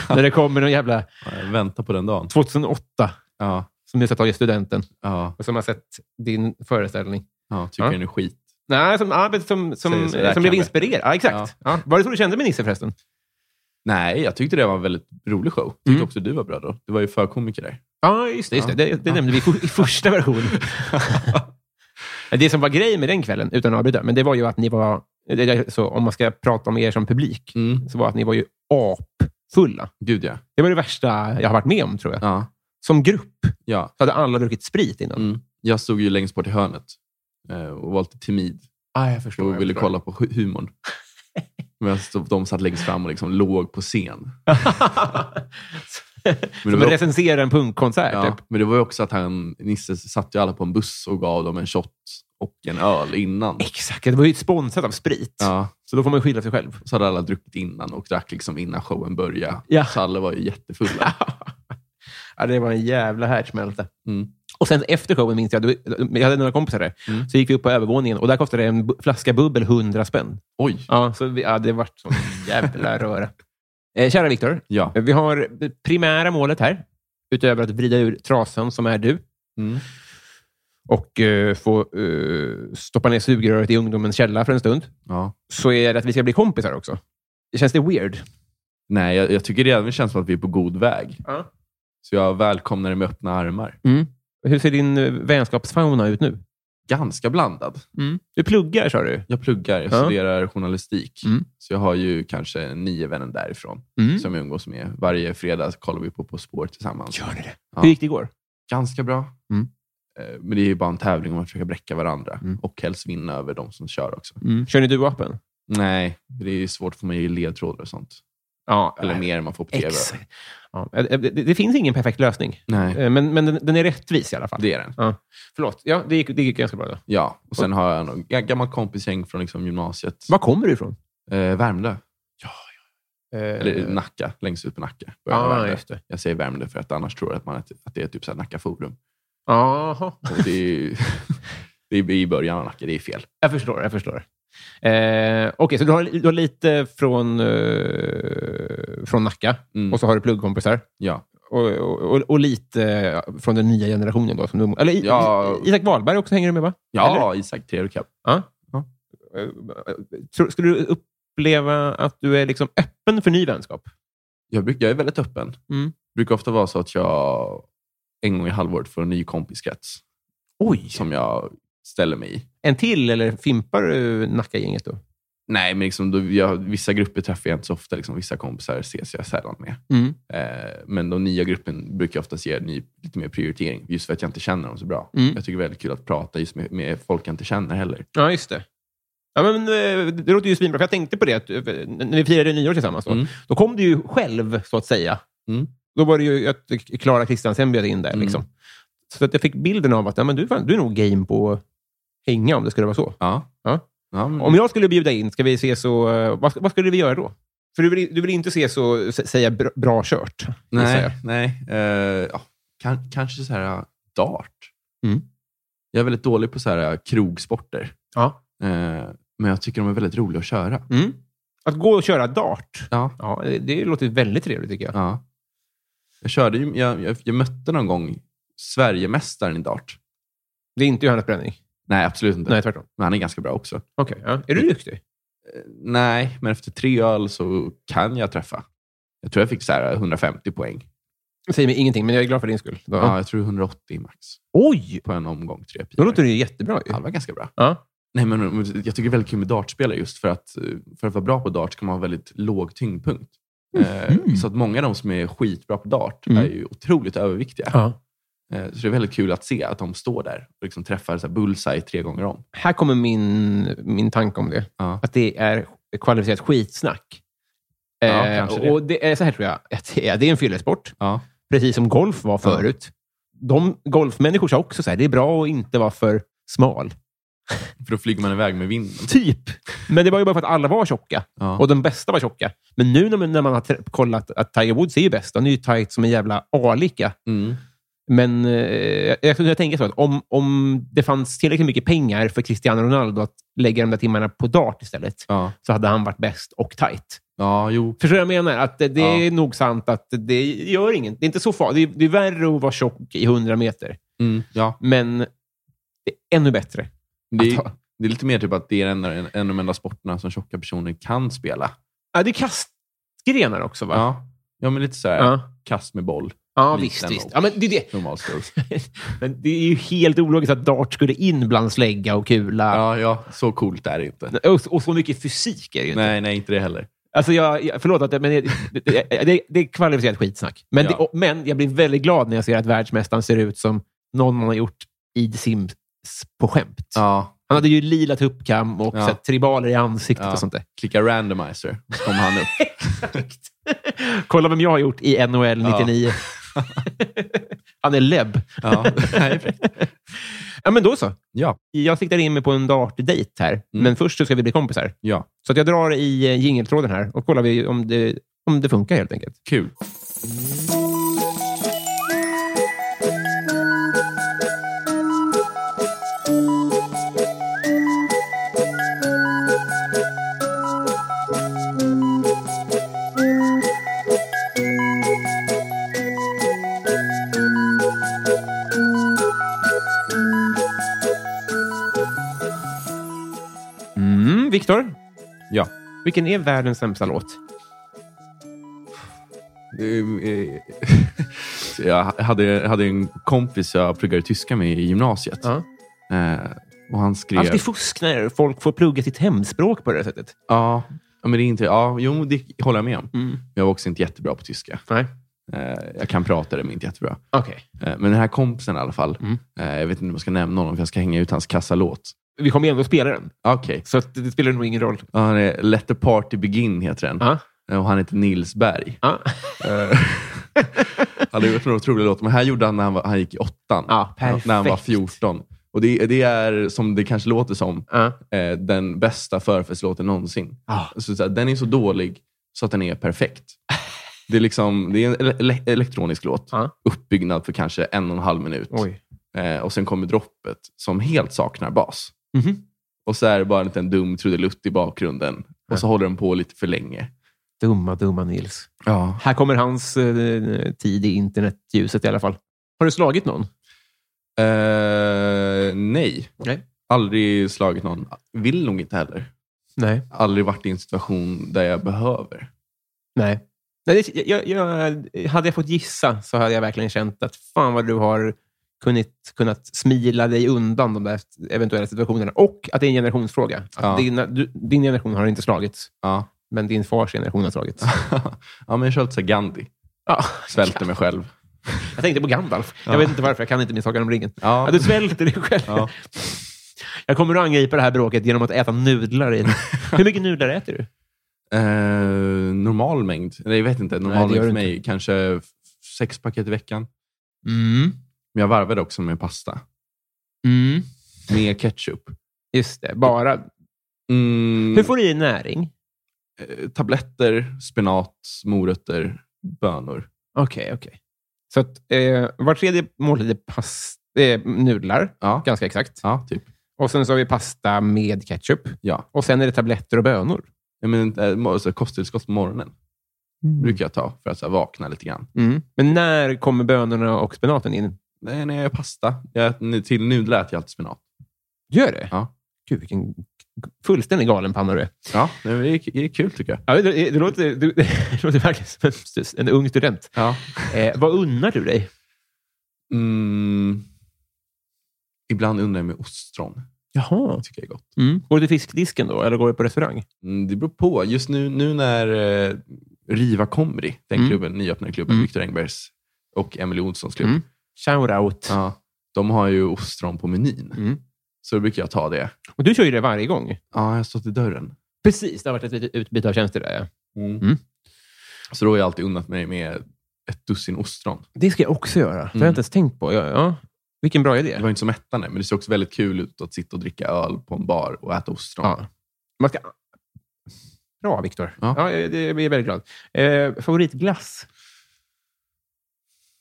Speaker 1: När det kommer någon jävla
Speaker 4: Ja, jag väntar Eh, på den dagen.
Speaker 1: 2008
Speaker 4: Ja,
Speaker 1: som du ska ta i studenten
Speaker 4: ja,
Speaker 1: och som har sett din föreställning.
Speaker 4: ja. Tycker
Speaker 1: Ja.
Speaker 4: den är skit.
Speaker 1: Nej, som, ja, men som, som,
Speaker 4: Säger sådär,
Speaker 1: som blev
Speaker 4: kanske.
Speaker 1: inspirerad. Ja, exakt. Ja. Var det så du kände med Nisse förresten?
Speaker 4: Nej, jag tyckte det var en väldigt rolig show. Tyckte
Speaker 1: Mm.
Speaker 4: också du var bra då. Du var ju förkomiker där.
Speaker 1: Ja, just det. Just det. det, det nämnde vi i for- i första versionen. det som var grejen med den kvällen, utan att avbryta, men det var ju att ni var... det är Så, om man ska prata om er som publik,
Speaker 4: Mm.
Speaker 1: så var att ni var ju apfulla.
Speaker 4: Gud ja.
Speaker 1: Det var det värsta jag har varit med om, tror jag.
Speaker 4: ja.
Speaker 1: Som grupp
Speaker 4: ja.
Speaker 1: så hade alla druckit sprit innan.
Speaker 4: Mm. Jag stod ju längst bort i hörnet eh, och var lite timid
Speaker 1: Ah, jag förstår.
Speaker 4: och ville kolla på hu- humorn. Medan de satt längst fram och liksom låg på scen.
Speaker 1: Men Som
Speaker 4: var-
Speaker 1: att recensera en punkkonsert.
Speaker 4: Ja,
Speaker 1: Typ.
Speaker 4: men det var ju också att han, Nisse satt ju alla på en buss och gav dem en shot och en öl innan.
Speaker 1: Exakt. Det var ju sponsrat av sprit.
Speaker 4: Ja,
Speaker 1: Så då får man ju skylla sig själv.
Speaker 4: så hade alla druckit innan och drack liksom innan showen började.
Speaker 1: Ja.
Speaker 4: Så alla var ju jättefulla.
Speaker 1: ja, det var en jävla härdsmälta.
Speaker 4: Mm.
Speaker 1: Och sen efter showen minns jag, då- jag hade några kompisar där,
Speaker 4: Mm.
Speaker 1: så gick vi upp på övervåningen och där kostade en bu- flaska bubbel 100 spänn.
Speaker 4: Oj!
Speaker 1: Ja, så vi, ja, det vart sån jävla röra. Eh, kära Viktor,
Speaker 4: Ja.
Speaker 1: vi har det primära målet här, utöver att vrida ur trasan som är du
Speaker 4: Mm.
Speaker 1: och eh, få eh, stoppa ner sugröret i ungdomens källa för en stund,
Speaker 4: ja.
Speaker 1: så är det att vi ska bli kompisar också. Känns det weird?
Speaker 4: Nej, jag, jag tycker det även känns som att vi är på god väg.
Speaker 1: Ja. Mm.
Speaker 4: Så jag välkomnar det med öppna armar.
Speaker 1: Hur ser din eh, vänskapsfauna ut nu?
Speaker 4: Ganska blandad.
Speaker 1: Du pluggar, sa du.
Speaker 4: Jag pluggar, jag
Speaker 1: Ja.
Speaker 4: studerar journalistik.
Speaker 1: Mm.
Speaker 4: Så jag har ju kanske nio vänner därifrån
Speaker 1: Mm.
Speaker 4: som jag umgås med. Varje fredag kollar vi på På spår tillsammans.
Speaker 1: Gör ni det?
Speaker 4: Ja.
Speaker 1: Hur gick det igår?
Speaker 4: Ganska bra.
Speaker 1: Mm.
Speaker 4: Eh, Men det är ju bara en tävling och man försöker bräcka varandra.
Speaker 1: Mm.
Speaker 4: Och helst vinna över de som kör också.
Speaker 1: Kör ni duo-appen?
Speaker 4: Nej, det är ju svårt för mig i ledtrådar och sånt.
Speaker 1: Ja,
Speaker 4: Eller mer än man får på tv.
Speaker 1: Ex. Ja. eh, Det, det finns ingen perfekt lösning,
Speaker 4: Nej,
Speaker 1: Eh, men, men den, den är rättvis i alla fall.
Speaker 4: det är den.
Speaker 1: Förlåt. Ja, det gick, det gick ganska bra. Då.
Speaker 4: Ja, och sen har jag en g- gammal kompisgäng från liksom gymnasiet.
Speaker 1: Var kommer du ifrån?
Speaker 4: Eh, Värmdö.
Speaker 1: Eh,
Speaker 4: Eller Nacka, längst ut på Nacka. Börjar med
Speaker 1: Ja,
Speaker 4: Värmdö.
Speaker 1: just det.
Speaker 4: Jag säger Värmdö för att annars tror jag att, man att, att det är typ så här Nacka Forum.
Speaker 1: Jaha.
Speaker 4: Och det är ju, det är i början av Nacka, det är fel.
Speaker 1: Jag förstår, jag förstår. Eh, Okej, så du har, du har lite från, eh, från Nacka
Speaker 4: Mm.
Speaker 1: och så har du pluggkompisar.
Speaker 4: Ja,
Speaker 1: Och, och, och, och lite eh, från den nya generationen. Då, som du, eller, I-
Speaker 4: Ja.
Speaker 1: Isak Wahlberg också hänger du med, va?
Speaker 4: ja Isak Trevkab.
Speaker 1: Eh, tror- Skulle du uppleva att du är liksom öppen för ny vänskap?
Speaker 4: Jag, bruk, jag är väldigt öppen.
Speaker 1: Mm.
Speaker 4: brukar ofta vara så att jag en gång i halvåret får en ny kompiskrets
Speaker 1: Oj!
Speaker 4: som jag ställer mig i.
Speaker 1: En till, eller fimpar du Nacka-gänget då?
Speaker 4: Nej, men liksom, då, jag, vissa grupper träffar jag inte så ofta. Liksom, vissa kompisar ses jag sällan med.
Speaker 1: Mm.
Speaker 4: Eh, men den nya gruppen brukar jag oftast ge ny, lite mer prioritering, just för att jag inte känner dem så bra.
Speaker 1: Mm.
Speaker 4: Jag tycker det är väldigt kul att prata just med, med folk jag inte känner heller.
Speaker 1: Ja, just det. Ja, men, eh, det låter ju svinbra, för jag tänkte på det att, eh, när vi firade nyår tillsammans. Då,
Speaker 4: Mm.
Speaker 1: då kom du ju själv, så att säga.
Speaker 4: Mm.
Speaker 1: Då var det ju att Klara Kristiansen bjöd in där.
Speaker 4: Mm.
Speaker 1: Liksom. Så att jag fick bilden av att ja, men du, fan, du är nog game på att hänga, om det skulle vara så.
Speaker 4: Ja.
Speaker 1: Ja.
Speaker 4: men,
Speaker 1: Om jag skulle bjuda in, ska vi se så, eh, vad, vad skulle vi göra då? För du vill, du vill inte se så, sä- säga bra, bra kört? gissar jag.
Speaker 4: nej, nej. Eh, ja, kan, kanske så här ja, dart.
Speaker 1: Mm.
Speaker 4: Jag är väldigt dålig på så här ja, krogsporter.
Speaker 1: Ja.
Speaker 4: Eh, men jag tycker de är väldigt roliga att köra.
Speaker 1: Mm. Att gå och köra dart,
Speaker 4: Ja.
Speaker 1: ja, det, det låter väldigt trevligt tycker jag.
Speaker 4: Ja. Jag, körde ju, jag, jag, jag mötte någon gång Sverigemästaren i dart.
Speaker 1: Det är inte Johannes Bränning.
Speaker 4: Nej, absolut inte.
Speaker 1: Nej, tvärtom.
Speaker 4: Men han är ganska bra också.
Speaker 1: Okej, ja. Är du duktig?
Speaker 4: Eh, Nej, men efter tre öl så kan jag träffa. Jag tror jag fick så här 150 poäng.
Speaker 1: Säger mig ingenting, men jag är glad för din skull. Då-
Speaker 4: Ja. jag tror 180 max
Speaker 1: Oj!
Speaker 4: på en omgång tre
Speaker 1: Då
Speaker 4: pilar.
Speaker 1: låter det ju jättebra. Ju.
Speaker 4: Ja, det var ganska bra.
Speaker 1: Ja.
Speaker 4: Nej, men men jag tycker det är väldigt kul med dartspelare just för att eh, för att vara bra på dart ska man ha väldigt låg tyngdpunkt. Eh, Så att många av de som är skitbra på dart
Speaker 1: Mhm. Mm.
Speaker 4: är ju otroligt överviktiga.
Speaker 1: Ja.
Speaker 4: Eh, Så det är väldigt kul att se att de står där och liksom träffar så här bullseye tre gånger om.
Speaker 1: Här kommer min, min tanke om det.
Speaker 4: Ja.
Speaker 1: Att det är kvalificerat skitsnack. Eh,
Speaker 4: Ja, kanske det.
Speaker 1: och det är så här tror jag att det är. Det är en fyllesport,
Speaker 4: Ja.
Speaker 1: precis som golf var förut. De golfmänniskor sa också så här, det är bra att inte vara för smal.
Speaker 4: För då flyger man iväg med vinden.
Speaker 1: Typ. Men det var ju bara för att alla var tjocka.
Speaker 4: Ja.
Speaker 1: Och de bästa var tjocka. Men nu när man, när man har trä- kollat att Tiger Woods är ju bäst. Han är ju tight som en jävla alika.
Speaker 4: Mm.
Speaker 1: Men eh, jag, jag, jag tänker så att om, om det fanns tillräckligt mycket pengar för Cristiano Ronaldo att lägga de där timmarna på dart istället,
Speaker 4: Ja.
Speaker 1: så hade han varit bäst och tight.
Speaker 4: ja, jo.
Speaker 1: Förstår du vad jag menar? Att det, det
Speaker 4: Ja.
Speaker 1: är nog sant att det gör inget. Det är inte så farligt. Det, är- det är värre att vara tjock i 100 meter,
Speaker 4: Mm. ja.
Speaker 1: men det är ännu bättre.
Speaker 4: Det,
Speaker 1: Att
Speaker 4: är,
Speaker 1: ha-
Speaker 4: det är lite mer typ att det är en, en, en av de enda sporterna som tjocka personer kan spela.
Speaker 1: Ja, det är kastgrenar också, va?
Speaker 4: Ja. ja, men lite så här
Speaker 1: Ja,
Speaker 4: kast med boll.
Speaker 1: ja
Speaker 4: Liten
Speaker 1: visst. visst.
Speaker 4: och
Speaker 1: Ja, men det, är det.
Speaker 4: Normal skills.
Speaker 1: men det är ju helt ologiskt att dart skulle in bland slägga och kula.
Speaker 4: Ja, ja, så coolt är det inte.
Speaker 1: Och, och så mycket fysik är det ju inte.
Speaker 4: Nej, nej, inte det heller.
Speaker 1: Alltså jag, jag, förlåt, att, jag- men det, det, det, det är kvalificerat skitsnack. Men,
Speaker 4: Ja.
Speaker 1: det, och, men jag blir väldigt glad när jag ser att världsmästaren ser ut som någon man har gjort i Sims på skämt.
Speaker 4: Ja.
Speaker 1: Han hade ju lila tuppkam och
Speaker 4: Ja.
Speaker 1: så här, tribaler i ansiktet
Speaker 4: Ja.
Speaker 1: och sånt där.
Speaker 4: Klicka randomizer, så kommer han upp.
Speaker 1: Kolla vem jag har gjort i NHL
Speaker 4: Ja.
Speaker 1: 99. han är lebb.
Speaker 4: Ja, nej, fräckt.
Speaker 1: Ja, men då så.
Speaker 4: ja.
Speaker 1: Jag siktar in mig på en dartdejt här, men först så ska vi bli kompisar.
Speaker 4: Mm. ja.
Speaker 1: Så att jag drar i eh, jingeltråden här och kollar vi om det, om det funkar helt enkelt.
Speaker 4: kul.
Speaker 1: Mm, Viktor?
Speaker 4: Ja. Mm.
Speaker 1: Vilken är världens sämsta låt?
Speaker 4: eh, så jag hade, hade en kompis jag pluggade tyska med i gymnasiet.
Speaker 1: Ja.
Speaker 4: Eh, och han skrev...
Speaker 1: Alltid Alltså, fusk när folk får plugga sitt hemspråk på det här sättet.
Speaker 4: Ja, ja, men det är inte... Ja, jo, det håller jag med om.
Speaker 1: Mm.
Speaker 4: Men jag var också inte jättebra på tyska.
Speaker 1: Nej.
Speaker 4: Eh, jag kan prata det, men inte jättebra.
Speaker 1: Okej.
Speaker 4: Eh, men den här kompisen i alla fall.
Speaker 1: Mm.
Speaker 4: Eh, jag vet inte om jag ska nämna honom, för jag ska hänga ut hans kassalåt.
Speaker 1: Vi kommer ju ändå spela den,
Speaker 4: Okej.
Speaker 1: så att det spelar nog ingen roll.
Speaker 4: Ja, Han är Let the Party Begin, heter den.
Speaker 1: Ja.
Speaker 4: Eh, Och han heter Nils Berg.
Speaker 1: Ja.
Speaker 4: Eh, han har gjort några otroliga låtar, men här gjorde han när han, var, han gick i åttan.
Speaker 1: Ja, perfekt.
Speaker 4: när han var 14. Och det, det är, som det kanske låter som,
Speaker 1: Ja.
Speaker 4: eh, den bästa förfestslåten någonsin.
Speaker 1: Ja.
Speaker 4: Så, så här, den är så dålig så att den är perfekt. Det är, liksom, det är en ele- ele- elektronisk låt.
Speaker 1: Ja.
Speaker 4: Uppbyggnad för kanske en och en halv minut.
Speaker 1: Oj.
Speaker 4: Eh, och sen kommer droppet som helt saknar bas.
Speaker 1: Mhm.
Speaker 4: Och så är det bara en liten dum trudelutt i bakgrunden. Och så håller den på lite för länge.
Speaker 1: Dumma, dumma Nils.
Speaker 4: Ja.
Speaker 1: Här kommer hans eh, tid i internetljuset i alla fall. Har du slagit någon?
Speaker 4: Eh, nej.
Speaker 1: Nej.
Speaker 4: Aldrig slagit någon. Vill nog inte heller.
Speaker 1: Nej.
Speaker 4: Aldrig varit i en situation där jag behöver.
Speaker 1: Nej. Nej det, jag, jag, hade jag fått gissa så hade jag verkligen känt att fan vad du har kunnit, kunnat smila dig undan de där eventuella situationerna. Och att det är en generationsfråga. Att
Speaker 4: Ja.
Speaker 1: dina, du, din generation har inte slagits,
Speaker 4: Ja.
Speaker 1: men din fars generation har slagits.
Speaker 4: ja, men jag kör lite så här Gandhi.
Speaker 1: Ja.
Speaker 4: Svälter mig själv.
Speaker 1: Jag tänkte på Gandalf.
Speaker 4: Ja.
Speaker 1: Jag vet inte varför. Jag kan inte min Sagan om ringen.
Speaker 4: Ja.
Speaker 1: Ja, du svälter dig själv.
Speaker 4: Ja.
Speaker 1: Jag kommer att angripa det här bråket genom att äta nudlar. I Hur mycket nudlar äter du?
Speaker 4: Eh, normal mängd? Nej, jag vet inte. Normal
Speaker 1: Nej, det gör
Speaker 4: mängd för
Speaker 1: du
Speaker 4: mig kanske f- sex paket i veckan. Mm. Men jag varvade också med pasta. Med ketchup.
Speaker 1: Just det, bara.
Speaker 4: Mm,
Speaker 1: Hur får du i näring?
Speaker 4: eh, tabletter, spenat, morötter, bönor.
Speaker 1: Okej, okej. Så att, eh, var tredje måltid är past, eh, nudlar,
Speaker 4: Ja,
Speaker 1: ganska exakt.
Speaker 4: ja typ.
Speaker 1: Och sen så har vi pasta med ketchup.
Speaker 4: Ja.
Speaker 1: Och sen är det tabletter och bönor.
Speaker 4: Jag menar, eh, mo- så här kosttillskott på morgonen brukar jag ta för att så här, vakna lite grann.
Speaker 1: Mm. Men när kommer bönorna och spenaten in?
Speaker 4: Nej, när jag gör pasta. Jag, äter- till nudlar äter jag alltid spenat.
Speaker 1: Gör det?
Speaker 4: Ja.
Speaker 1: Gud, vilken fullständig galenpanna du är.
Speaker 4: Ja, det är, det är kul tycker jag.
Speaker 1: Ja, det, det, det, låter, det, det låter verkligen som en, en ung student.
Speaker 4: Ja.
Speaker 1: Eh, vad unnar du dig?
Speaker 4: Mm. Ibland undrar jag med ostron.
Speaker 1: Jaha.
Speaker 4: Det tycker jag är gott.
Speaker 1: Mm. Går du till fiskdisken då, eller går du på restaurang?
Speaker 4: Mm, det beror på. Just nu, nu när eh, Riva Comri, den
Speaker 1: Mm.
Speaker 4: klubben, nyöppnade klubben,
Speaker 1: Mm.
Speaker 4: Viktor Engbergs och Emily Olssons klubb,
Speaker 1: Mm. Shout out.
Speaker 4: ja, de har ju ostron på menyn.
Speaker 1: Mm.
Speaker 4: Så då brukar jag ta det.
Speaker 1: Och du kör ju det varje gång.
Speaker 4: Ja, jag har stått i dörren.
Speaker 1: Precis, det har varit ett utbyte av tjänster där. Ja. Mm.
Speaker 4: Så då har jag alltid unnat mig med ett dussin ostron.
Speaker 1: Det ska jag också göra. Det har
Speaker 4: Mm.
Speaker 1: jag inte ens tänkt på. Ja, ja. Vilken bra idé.
Speaker 4: Det var inte så mättande, men det ser också väldigt kul ut att sitta och dricka öl på en bar och äta ostron.
Speaker 1: Ja. Man ska... Bra, Viktor.
Speaker 4: Ja.
Speaker 1: Ja. jag- det- jag är väldigt glad. Eh, favoritglass?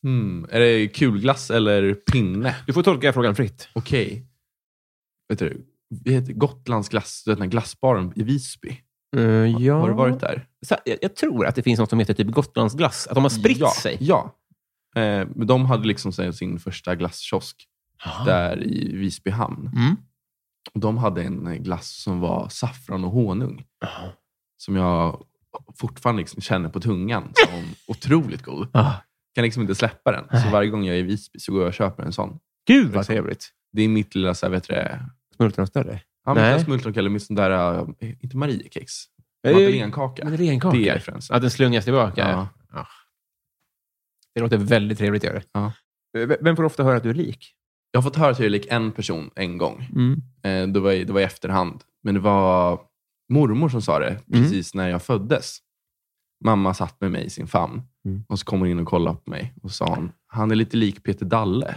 Speaker 4: Mm. Är det kulglass eller pinne?
Speaker 1: Du får tolka frågan fritt.
Speaker 4: Okej. Vet du, det heter Gotlandsglass, du vet den här glassbaren i Visby. Har-
Speaker 1: Eh, ja.
Speaker 4: Har du varit där?
Speaker 1: Så, jag, jag tror att det finns något som heter typ Gotlandsglass. Att de har spritt
Speaker 4: ja,
Speaker 1: sig.
Speaker 4: Ja. Eh, men de hade liksom så här sin första glasskiosk
Speaker 1: Ah.
Speaker 4: där i Visby hamn.
Speaker 1: Mm.
Speaker 4: Och de hade en eh, glass som var saffran och honung. Som jag fortfarande liksom känner på tungan som otroligt god.
Speaker 1: Ah.
Speaker 4: Kan liksom inte släppa den. Så varje gång jag är i Visby så går jag och köper en sån.
Speaker 1: Gud, vad
Speaker 4: Liksom.
Speaker 1: trevligt.
Speaker 4: Det är mitt lilla, så här, vet du det,
Speaker 1: Smultronstörre.
Speaker 4: ja,
Speaker 1: Nej.
Speaker 4: men smultronkex, eller mitt sånt där, eh, inte Mariekex,
Speaker 1: Eh,
Speaker 4: madeleinekaka.
Speaker 1: Madeleinekaka.
Speaker 4: Det är referensen.
Speaker 1: Att den slungas tillbaka.
Speaker 4: Ja.
Speaker 1: Det låter väldigt trevligt. Gör det.
Speaker 4: Ja.
Speaker 1: V- Vem får ofta höra att du är lik?
Speaker 4: Jag har fått höra att jag är lik en person en gång. Eh, Det var, i, det var i efterhand. Men det var mormor som sa det precis när jag föddes. Mamma satt med mig i sin famn
Speaker 1: Mm.
Speaker 4: och så kom hon in och kollade på mig och sa hon, han är lite lik Peter Dalle.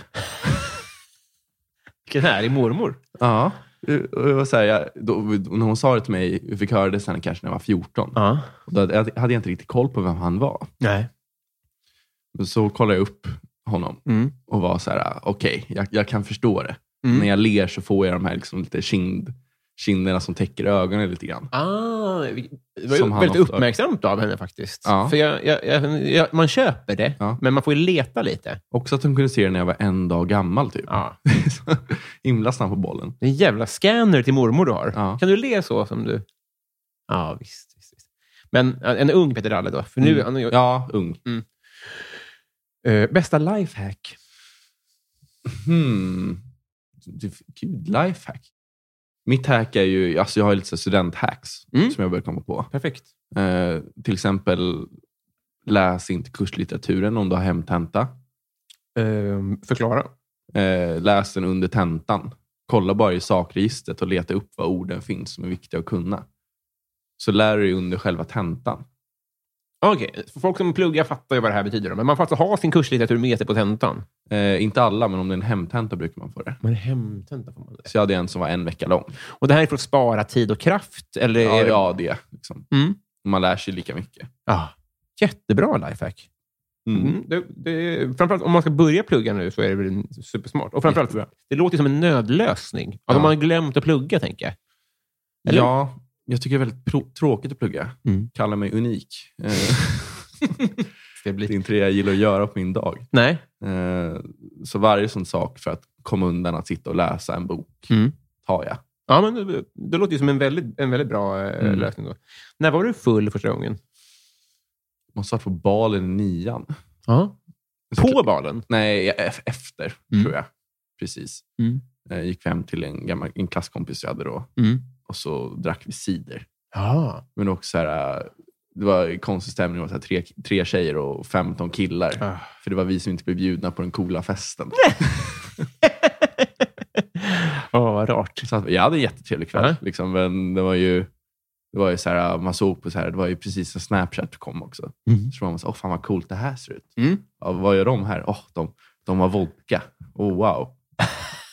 Speaker 1: Vilken härlig mormor.
Speaker 4: Ja. Eh, Och jag var så här, jag, då, när hon sa det till mig, jag fick höra det sen kanske när jag var 14.
Speaker 1: Ja.
Speaker 4: Och Då hade jag hade jag inte riktigt koll på vem han var.
Speaker 1: Nej.
Speaker 4: Men Så kollade jag upp honom
Speaker 1: Mm.
Speaker 4: och var så här, okej, jag, jag kan förstå det.
Speaker 1: Mm.
Speaker 4: När jag ler så får jag de här liksom lite kind, kinderna som täcker ögonen lite grann.
Speaker 1: Ah, det var
Speaker 4: Som
Speaker 1: ju
Speaker 4: han
Speaker 1: väldigt
Speaker 4: ofta-
Speaker 1: uppmärksamt av henne faktiskt.
Speaker 4: Ja.
Speaker 1: För jag, jag, jag, jag, man köper det,
Speaker 4: Ja.
Speaker 1: men man får ju leta lite.
Speaker 4: Också att hon kunde se det när jag var en dag gammal. Typ.
Speaker 1: Ja.
Speaker 4: Så Himla snabb på bollen.
Speaker 1: Det är en jävla scanner till mormor du har.
Speaker 4: Ja.
Speaker 1: Kan du le så som du... Ja, visst. visst, visst. Men eh, en ung Peter Dalle då. För nu, han, ja.
Speaker 4: Mm. Ja, ung.
Speaker 1: bästa lifehack?
Speaker 4: Hmm. Det- Gud, lifehack. Mitt hack är ju... Alltså jag har ju lite så här studenthacks
Speaker 1: Mm.
Speaker 4: som jag börjar komma på.
Speaker 1: Perfekt.
Speaker 4: Eh, till exempel, läs inte kurslitteraturen om du har hemtenta.
Speaker 1: Eh, förklara.
Speaker 4: Eh, läs den under tentan. Kolla bara i sakregistret och leta upp vad orden finns som är viktiga att kunna. Så lär du dig under själva tentan.
Speaker 1: Okej, för folk som pluggar fattar ju vad det här betyder. då. Men man får alltså ha sin kurslitteratur med sig på tentan.
Speaker 4: Eh, inte alla, men om det är en hemtenta brukar man få det.
Speaker 1: Men hemtenta får man det.
Speaker 4: Så jag hade en som var en vecka lång.
Speaker 1: Och det här är för att spara tid och kraft? Eller
Speaker 4: Ja,
Speaker 1: är det...
Speaker 4: ja det. Liksom.
Speaker 1: Mm.
Speaker 4: Man lär sig lika mycket.
Speaker 1: Ja. Jättebra lifehack.
Speaker 4: Mm.
Speaker 1: Mm. Det, det, framförallt om man ska börja plugga nu så är det väl en- supersmart. Och framförallt, det låter ju som en nödlösning. Att
Speaker 4: Ja.
Speaker 1: Om man har glömt att plugga, tänker jag. Eller?
Speaker 4: Ja, jag tycker det är väldigt pro- tråkigt att plugga.
Speaker 1: Mm.
Speaker 4: Kallar mig unik. Eh,
Speaker 1: Det
Speaker 4: det är
Speaker 1: blir...
Speaker 4: inte det jag gillar att göra på min dag.
Speaker 1: Nej.
Speaker 4: Eh, så varje sån sak för att komma undan att sitta och läsa en bok
Speaker 1: Mm.
Speaker 4: tar jag.
Speaker 1: Ja, men det, det låter ju som en väldigt, en väldigt bra eh,
Speaker 4: Mm.
Speaker 1: lösning. Då. När var du full första gången?
Speaker 4: Måste ha varit på balen i nian.
Speaker 1: På balen?
Speaker 4: Nej, e- efter
Speaker 1: Mm.
Speaker 4: tror jag. Precis.
Speaker 1: Mm.
Speaker 4: Eh, gick vi hem till en, gammal, en klasskompis jag hade då och så drack vi cider.
Speaker 1: Ja.
Speaker 4: Men också så här, eh, det var konstig stämning. Det var så här tre, tre tjejer och 15 killar.
Speaker 1: Ah.
Speaker 4: För det var vi som inte blev bjudna på den coola festen.
Speaker 1: Åh, vad rart.
Speaker 4: Så att, jag hade en jättetrevlig kväll.
Speaker 1: Ja.
Speaker 4: Liksom, men det var ju, det var ju så här, man såg på så här, det var ju precis när Snapchat kom också.
Speaker 1: Mm.
Speaker 4: Så man var så åh fan vad coolt det här ser ut.
Speaker 1: Mm.
Speaker 4: Ja, vad gör de här? Åh, de, de har vodka. Oh, wow.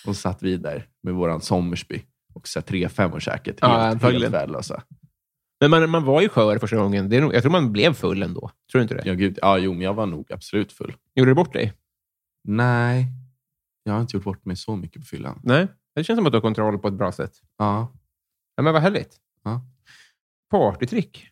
Speaker 4: och så satt vi där med våran Sommersby och så här, tre femmor säkert.
Speaker 1: Ja,
Speaker 4: Helt,
Speaker 1: antagligen.
Speaker 4: helt värdelösa.
Speaker 1: Men man, man var ju skör första gången. Det är nog, jag tror man blev full ändå. Tror du inte det?
Speaker 4: Ja, gud. Ja, jo, men jag var nog absolut full.
Speaker 1: Gjorde du bort dig?
Speaker 4: Nej, jag har inte gjort bort mig så mycket på fyllan.
Speaker 1: Nej. Det känns som att du har kontroll på ett bra sätt.
Speaker 4: Ja.
Speaker 1: Ja, men vad härligt.
Speaker 4: Ja.
Speaker 1: Partytrick.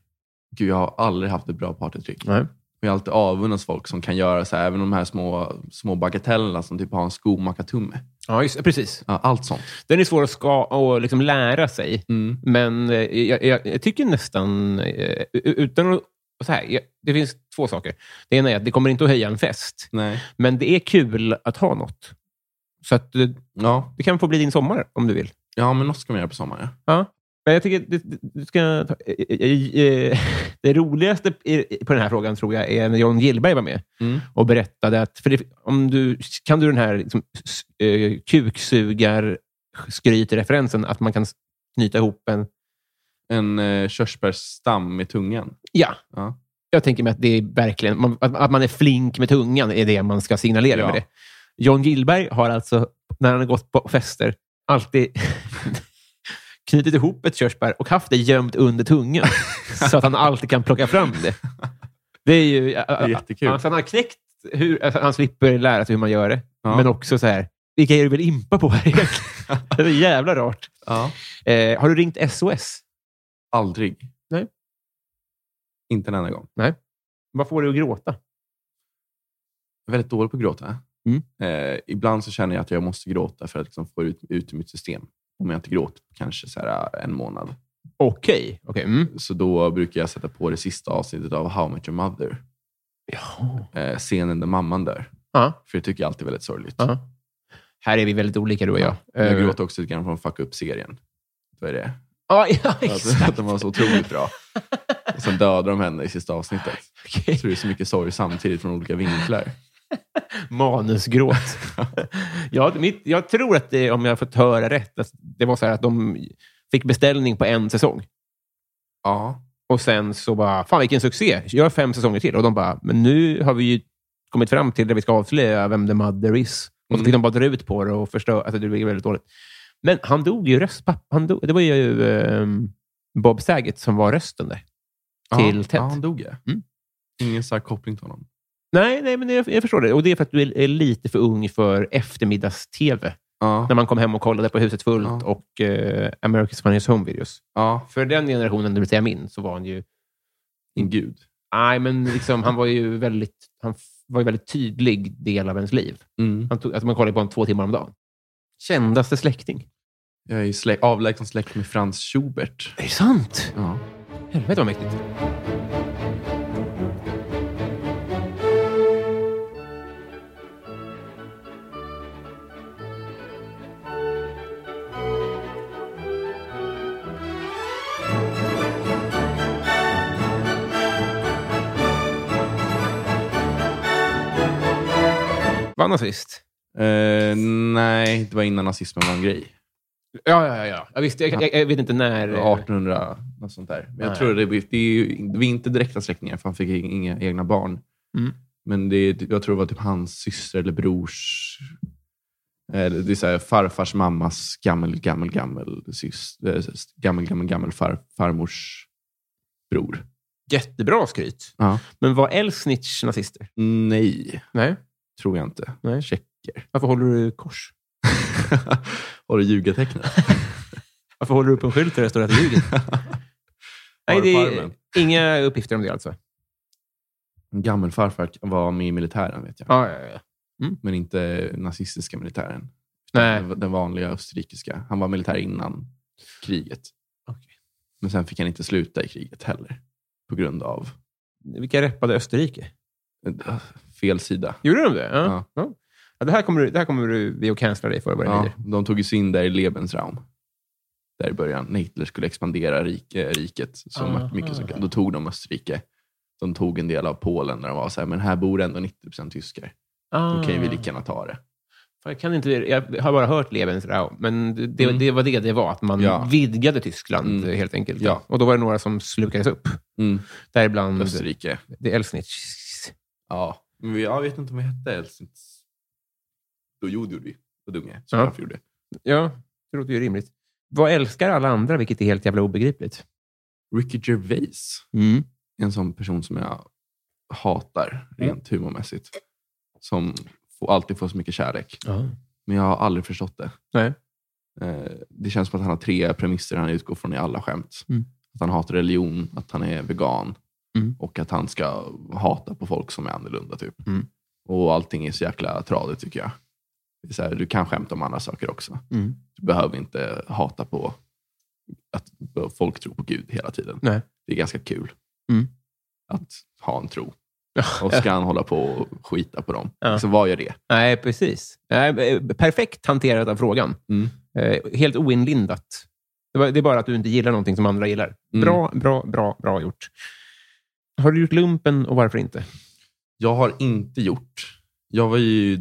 Speaker 4: Gud, jag har aldrig haft ett bra partytrick.
Speaker 1: Nej.
Speaker 4: Och jag har alltid avundas folk som kan göra så här, även de här små, små bagatellerna som typ har en skomakatunne.
Speaker 1: Ja, just, precis.
Speaker 4: Ja, allt sånt.
Speaker 1: Den är svår att, ska, att liksom lära sig.
Speaker 4: Mm.
Speaker 1: Men eh, jag, jag, jag tycker nästan, eh, u- utan att... Så här, jag, det finns två saker. Det ena är att det kommer inte att höja en fest,
Speaker 4: Nej.
Speaker 1: men det är kul att ha något. Så att eh,
Speaker 4: Ja.
Speaker 1: det kan få bli din sommar om du vill.
Speaker 4: ja, men något ska man göra på sommaren. ja.
Speaker 1: Men jag tycker att du, du- du ska ta, eh, eh, eh, det roligaste i- på den här frågan tror jag är när John Gillberg var med
Speaker 4: Mm.
Speaker 1: och berättade att... För det, om du, kan du den här liksom, s- eh, kuksugar-skrytreferensen, att man kan s- knyta ihop en...
Speaker 4: En eh, körsbärsstam med tungan.
Speaker 1: Ja.
Speaker 4: Ja.
Speaker 1: Jag tänker mig att det är verkligen... Man, att, att man är flink med tungan är det man ska signalera
Speaker 4: Ja.
Speaker 1: med det. John Gillberg har alltså, när han har gått på fester, alltid knutit ihop ett körsbär och haft det gömt under tungan, så att han alltid kan plocka fram det. Det är ju...
Speaker 4: Det är jättekul.
Speaker 1: Alltså, Han, han har knäckt hur... alltså, Han slipper lära sig hur man gör det.
Speaker 4: Ja.
Speaker 1: Men också så här, vilka är du väl impa på här egentligen? Det är jävla rart.
Speaker 4: Ja.
Speaker 1: Eh, har du ringt SOS?
Speaker 4: Aldrig.
Speaker 1: Nej.
Speaker 4: Inte en enda gång.
Speaker 1: Vad får du att gråta?
Speaker 4: Jag är väldigt dålig på att gråta.
Speaker 1: Mm.
Speaker 4: Eh, ibland så känner jag att jag måste gråta för att liksom få ut, ut ur mitt system. Om jag inte gråter på kanske så här eh, en månad.
Speaker 1: Okej. Okej, mm.
Speaker 4: Så då brukar jag sätta på det sista avsnittet av How I Met Your Mother. Eh, scenen där mamman dör.
Speaker 1: Ja.
Speaker 4: För det tycker jag alltid är väldigt sorgligt.
Speaker 1: Ja. Här är vi väldigt olika, du och jag.
Speaker 4: Jag
Speaker 1: Eh,
Speaker 4: gråter också lite grann från Fuck Up-serien. Vad är det?
Speaker 1: Ja, ja
Speaker 4: Att, att
Speaker 1: exakt.
Speaker 4: den var så otroligt bra. Och sen dödar de henne i sista avsnittet.
Speaker 1: Okej.
Speaker 4: Så det är så mycket sorg samtidigt från olika vinklar.
Speaker 1: Manusgråt. ja, mitt, jag tror att det, om jag fått höra rätt, att det var så här att de fick beställning på en säsong.
Speaker 4: Ja.
Speaker 1: Och sen så bara, fan vilken succé, gör fem säsonger till. Och de bara, men nu har vi ju kommit fram till där vi ska avslöja vem the mother is. Och så
Speaker 4: Mm.
Speaker 1: fick de bara dra ut på det och förstöra. Alltså, det blev väldigt dåligt. Men han dog ju röst. papp- Han dog, det var ju ehm, Bob Saget som var rösten där. Till
Speaker 4: ja,
Speaker 1: Ted.
Speaker 4: Ja, han dog ja.
Speaker 1: Mm.
Speaker 4: Ingen så här koppling till honom.
Speaker 1: Nej, nej men jag, jag förstår det. Och Det är för att du är, är lite för ung för eftermiddags-tv.
Speaker 4: Ja.
Speaker 1: När man kom hem och kollade på Huset fullt
Speaker 4: Ja.
Speaker 1: och eh, America's Funniest Home-videos.
Speaker 4: ja.
Speaker 1: För den generationen, det vill säga min, så var han ju...
Speaker 4: En gud.
Speaker 1: Nej, men liksom, han var ju väldigt, han f- var ju väldigt tydlig del av ens liv.
Speaker 4: Mm.
Speaker 1: Han tog, alltså man kollade på honom två timmar om dagen. Kändaste släkting.
Speaker 4: Jag är ju slä- avlägsen släkt med Franz Schubert.
Speaker 1: Är det sant?
Speaker 4: Ja.
Speaker 1: Helvete vad mäktigt. var nazist?
Speaker 4: Eh, nej, det var innan nazismen var en grej.
Speaker 1: Ja, ja, ja. ja. Jag, visste, jag, jag, jag vet inte när. eh,
Speaker 4: 1800, något sånt där. Men jag
Speaker 1: Nej.
Speaker 4: tror det, det, är ju, det var inte direkta släktingar, för han fick inga egna barn.
Speaker 1: Mm.
Speaker 4: Men det, jag tror det var typ hans syster eller brors... Eller det är så här, farfars mammas gammel, gammel, gammel syster. eh, Gammel, gammel, gammel far, farmors bror.
Speaker 1: Jättebra skryt.
Speaker 4: Ja.
Speaker 1: Men var Elsnitch nazister?
Speaker 4: Nej,
Speaker 1: Nej.
Speaker 4: tror jag inte.
Speaker 1: Nej.
Speaker 4: Tjecker.
Speaker 1: Varför håller du kors?
Speaker 4: Har du ljugatecknet?
Speaker 1: Varför håller du upp en skylt där det står att du ljuger? Nej,
Speaker 4: Har du
Speaker 1: det
Speaker 4: på
Speaker 1: är
Speaker 4: armen?
Speaker 1: inga uppgifter om det alltså.
Speaker 4: Gammelfarfar var med i militären, vet jag.
Speaker 1: Ja, ja, ja.
Speaker 4: men inte nazistiska militären.
Speaker 1: Nej.
Speaker 4: Den- Eh, Den vanliga österrikiska. Han var militär innan kriget.
Speaker 1: Okej.
Speaker 4: Men sen fick han inte sluta i kriget heller. På grund av
Speaker 1: Vilka reppade Österrike?
Speaker 4: eh, fel sida.
Speaker 1: Gjorde de det? Ja.
Speaker 4: Ja.
Speaker 1: Ja. Ja, det, här kommer du, det här kommer du, vi att cancella dig för vad det
Speaker 4: Ja,
Speaker 1: lider.
Speaker 4: de tog ju sig in där i Lebensraum. Där i början, när Hitler skulle expandera rik, eh, riket så
Speaker 1: Aha.
Speaker 4: mycket som Då tog de Österrike. De tog en del av Polen där de var så här, men här bor ändå 90 tyskar.
Speaker 1: Ah.
Speaker 4: Då kan ju vi lika gärna ta
Speaker 1: Mm,
Speaker 4: det.
Speaker 1: Fan, Jag, kan inte, jag har bara hört Lebensraum, men det- det,
Speaker 4: Mm.
Speaker 1: det var det det var. Att man
Speaker 4: Ja.
Speaker 1: vidgade Tyskland
Speaker 4: Mm.
Speaker 1: helt enkelt.
Speaker 4: Ja.
Speaker 1: Och då var det några som slukades upp.
Speaker 4: Mm.
Speaker 1: Däribland
Speaker 4: Österrike.
Speaker 1: det Elsnitch.
Speaker 4: Ja. Men jag vet inte om vi hette Helsings. Då jo, det gjorde vi. Vad dum jag är. Så
Speaker 1: Ja.
Speaker 4: varför gjorde jag.
Speaker 1: Ja, det låter ju rimligt. Vad älskar alla andra, vilket är helt jävla obegripligt.
Speaker 4: Ricky Gervais
Speaker 1: Mm.
Speaker 4: är en sån person som jag hatar rent humormässigt. Som får, alltid får så mycket kärlek.
Speaker 1: Ja.
Speaker 4: Men jag har aldrig förstått det.
Speaker 1: Nej.
Speaker 4: Eh, Det känns som att han har tre premisser han utgår från i alla skämt.
Speaker 1: Mm.
Speaker 4: Att han hatar religion, att han är vegan
Speaker 1: Mm.
Speaker 4: och att han ska hata på folk som är annorlunda. Typ.
Speaker 1: Mm.
Speaker 4: Och allting är så jäkla tradigt tycker jag. Det är så här, du kan skämta om andra saker också.
Speaker 1: Mm.
Speaker 4: Du behöver inte hata på att folk tror på Gud hela tiden.
Speaker 1: Nej.
Speaker 4: Det är ganska kul
Speaker 1: Mm.
Speaker 4: att ha en tro. Och ska han hålla på och skita på dem,
Speaker 1: Ja.
Speaker 4: så vad gör det?
Speaker 1: Nej, precis. Nej, eh, perfekt hanterat av frågan.
Speaker 4: Mm.
Speaker 1: Eh, helt oinlindat. Det, var, det är bara att du inte gillar någonting som andra gillar.
Speaker 4: Mm.
Speaker 1: Bra, bra, bra, bra gjort. Har du gjort lumpen och varför inte?
Speaker 4: Jag har inte gjort. Jag var ju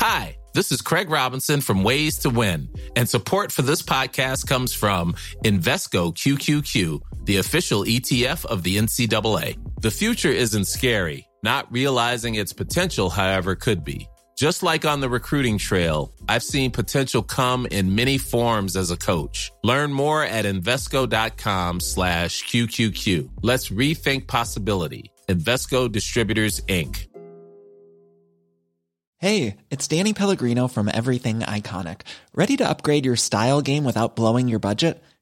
Speaker 5: Hi, this is Craig Robinson from Ways to Win, and support for this podcast comes from Invesco QQQ, the official ETF of the NCAA. The future isn't scary, not realizing its potential, however, could be. Just like on the recruiting trail, I've seen potential come in many forms as a coach. Learn more at Invesco.com slash QQQ. Let's rethink possibility. Invesco Distributors, Inc.
Speaker 6: Hey, it's Danny Pellegrino from Everything Iconic. Ready to upgrade your style game without blowing your budget?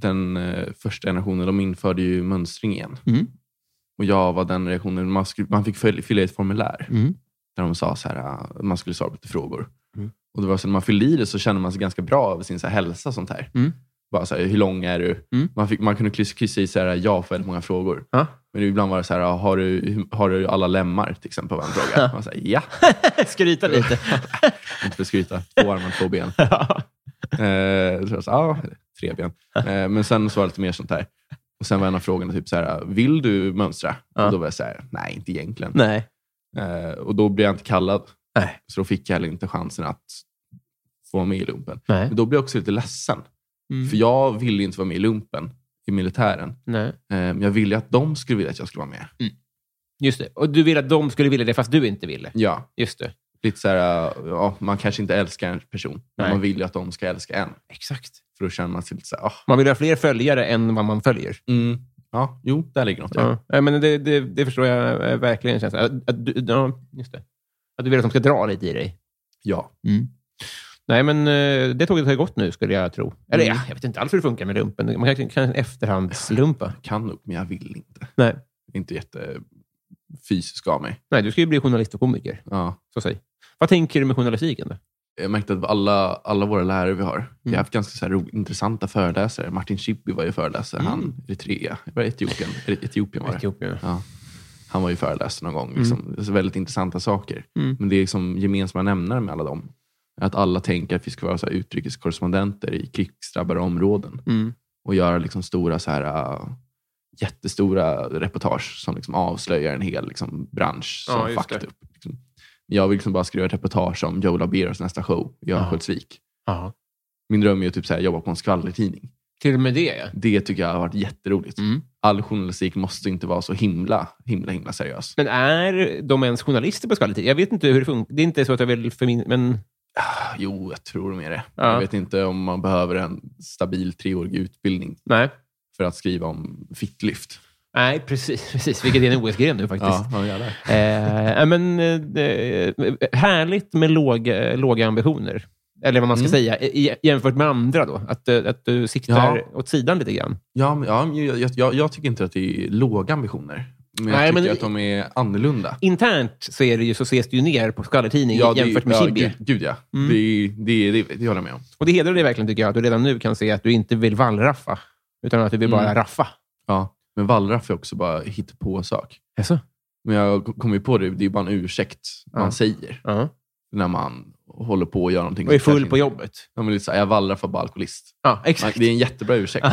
Speaker 4: den eh, första generationen, de införde ju mönstring igen.
Speaker 1: Mm.
Speaker 4: Och jag var den reaktionen, man, skulle, man fick fyll- fylla i ett formulär
Speaker 1: Mm.
Speaker 4: där de sa så här, ah, man skulle svara på lite frågor.
Speaker 1: Mm.
Speaker 4: Och det var så när man fyllde i det så kände man sig ganska bra över sin så här, hälsa och sånt här.
Speaker 1: Mm.
Speaker 4: Bara så här, hur lång är du?
Speaker 1: Mm.
Speaker 4: Man, fick, man kunde kryssa, kryssa i så här, ja på väldigt många frågor.
Speaker 1: Ja.
Speaker 4: Men ibland var det så här, ah, har du, har du alla lemmar till exempel? Var en fråga. Man sa, ja,
Speaker 1: Skryta lite.
Speaker 4: inte för att skryta. Två armar, två ben. Eh, så jag sa, ja, tre ben. Eh, men sen så var det lite mer sånt här. Och sen var en av frågorna typ så här, vill du mönstra?
Speaker 1: Ja.
Speaker 4: Och då var jag så här, nej, inte egentligen.
Speaker 1: Nej.
Speaker 4: Eh, och då blev jag inte kallad.
Speaker 1: Nej.
Speaker 4: Så då fick jag heller inte chansen att få vara med i lumpen.
Speaker 1: Nej.
Speaker 4: Men då blev jag också lite ledsen.
Speaker 1: Mm.
Speaker 4: För jag ville inte vara med i lumpen, i militären.
Speaker 1: Nej.
Speaker 4: Eh, men jag ville att de skulle vilja att jag skulle vara med.
Speaker 1: Mm. Just det. Och du ville att de skulle vilja det, fast du inte ville.
Speaker 4: Ja,
Speaker 1: Just det.
Speaker 4: lite så här, eh, ja, man kanske inte älskar en person, men
Speaker 1: Nej.
Speaker 4: man vill ju att de ska älska en.
Speaker 1: Exakt.
Speaker 4: För då känner man sig lite så här, ah,
Speaker 1: Man vill ha fler följare än vad man följer.
Speaker 4: mm, ja, jo, där ligger något. Ja.
Speaker 1: Ja. Nej, Men det, det, det förstår jag eh, verkligen. Känns det. Att, att, du- ja, just det. att du vill att de ska dra lite i dig.
Speaker 4: ja.
Speaker 1: Nej, men eh, det tåget har ju gått nu, skulle jag tro. Eller
Speaker 4: Mm.
Speaker 1: ja, jag vet inte alls hur det funkar med lumpen. Man kan, kan efterhandslumpa.
Speaker 4: kan nog, men jag vill inte.
Speaker 1: Nej.
Speaker 4: Inte jätte fysiskt av mig.
Speaker 1: Nej, du ska ju bli journalist och komiker.
Speaker 4: Ja.
Speaker 1: Så säg. Vad tänker du med journalistiken? Då?
Speaker 4: Jag märkte att alla, alla våra lärare vi har, vi har haft ganska så här ro, intressanta föreläsare. Martin Schibbye var ju föreläsare. Han, Eritrea, var det Etiopien? Eri- Etiopien var det.
Speaker 1: Etiopien.
Speaker 4: Ja. Han var ju föreläsare någon gång. Liksom.
Speaker 1: Mm.
Speaker 4: Alltså väldigt intressanta saker. Men det är liksom gemensamma nämnare med alla dem är att alla tänker att vi ska vara så här utrikeskorrespondenter i krigsdrabbade områden
Speaker 1: Mm.
Speaker 4: och göra liksom stora så här, äh, jättestora reportage som liksom avslöjar en hel liksom, bransch som
Speaker 1: Ja, just
Speaker 4: fucked
Speaker 1: det.
Speaker 4: up. Liksom. Jag vill liksom bara skriva ett reportage om Joe Laberos nästa show i Örnsköldsvik.
Speaker 1: Ja.
Speaker 4: Min dröm är ju typ så här, jobba på en skvallertidning.
Speaker 1: Till och med det, ja.
Speaker 4: Det tycker jag har varit jätteroligt.
Speaker 1: Mm.
Speaker 4: All journalistik måste inte vara så himla, himla, himla seriös.
Speaker 1: Men är de ens journalister på skvallertid? Jag vet inte hur det funkar. Det är inte så att jag vill för min... Men
Speaker 4: Jo, jag tror de är det.
Speaker 1: Ja.
Speaker 4: Jag vet inte om man behöver en stabil treårig utbildning
Speaker 1: nej.
Speaker 4: för att skriva om fittlyft.
Speaker 1: Nej, precis. precis. Vilket är en OS-gren nu faktiskt.
Speaker 4: Ja, ja, jävlar.
Speaker 1: Eh, ja, men, eh, härligt med låga, låga ambitioner. Eller vad man ska
Speaker 4: Mm.
Speaker 1: säga, i, jämfört med andra. då. Att, eh, att du siktar
Speaker 4: Ja.
Speaker 1: åt sidan lite grann.
Speaker 4: Ja, men- ja, men jag, jag, jag tycker inte att det är låga ambitioner. Men jag
Speaker 1: Nej,
Speaker 4: tycker
Speaker 1: men-
Speaker 4: att de är annorlunda.
Speaker 1: Internt så, är det ju, så ses du ju ner på skvallertidning
Speaker 4: Ja, det-
Speaker 1: jämfört med Mm.
Speaker 4: ja,
Speaker 1: Schibbye.
Speaker 4: Gud, gud ja. Det, det, det, det håller jag med om.
Speaker 1: Och det hedrar dig verkligen, tycker jag, att du redan nu kan se att du inte vill vallraffa, utan att du vill
Speaker 4: Mm.
Speaker 1: bara raffa.
Speaker 4: Ja. Men wallraff är också bara på sak.
Speaker 1: Jaså?
Speaker 4: Men jag kommer ju på det, det är bara en ursäkt man
Speaker 1: Ja.
Speaker 4: säger
Speaker 1: Ja.
Speaker 4: när man håller på att göra någonting.
Speaker 1: Och är
Speaker 4: som
Speaker 1: full
Speaker 4: kanske
Speaker 1: på
Speaker 4: inte-
Speaker 1: jobbet.
Speaker 4: Ja, men lite så här, jag wallraffar bara alkoholist.
Speaker 1: Ja,
Speaker 4: Man-
Speaker 1: exakt.
Speaker 4: Det är en jättebra ursäkt.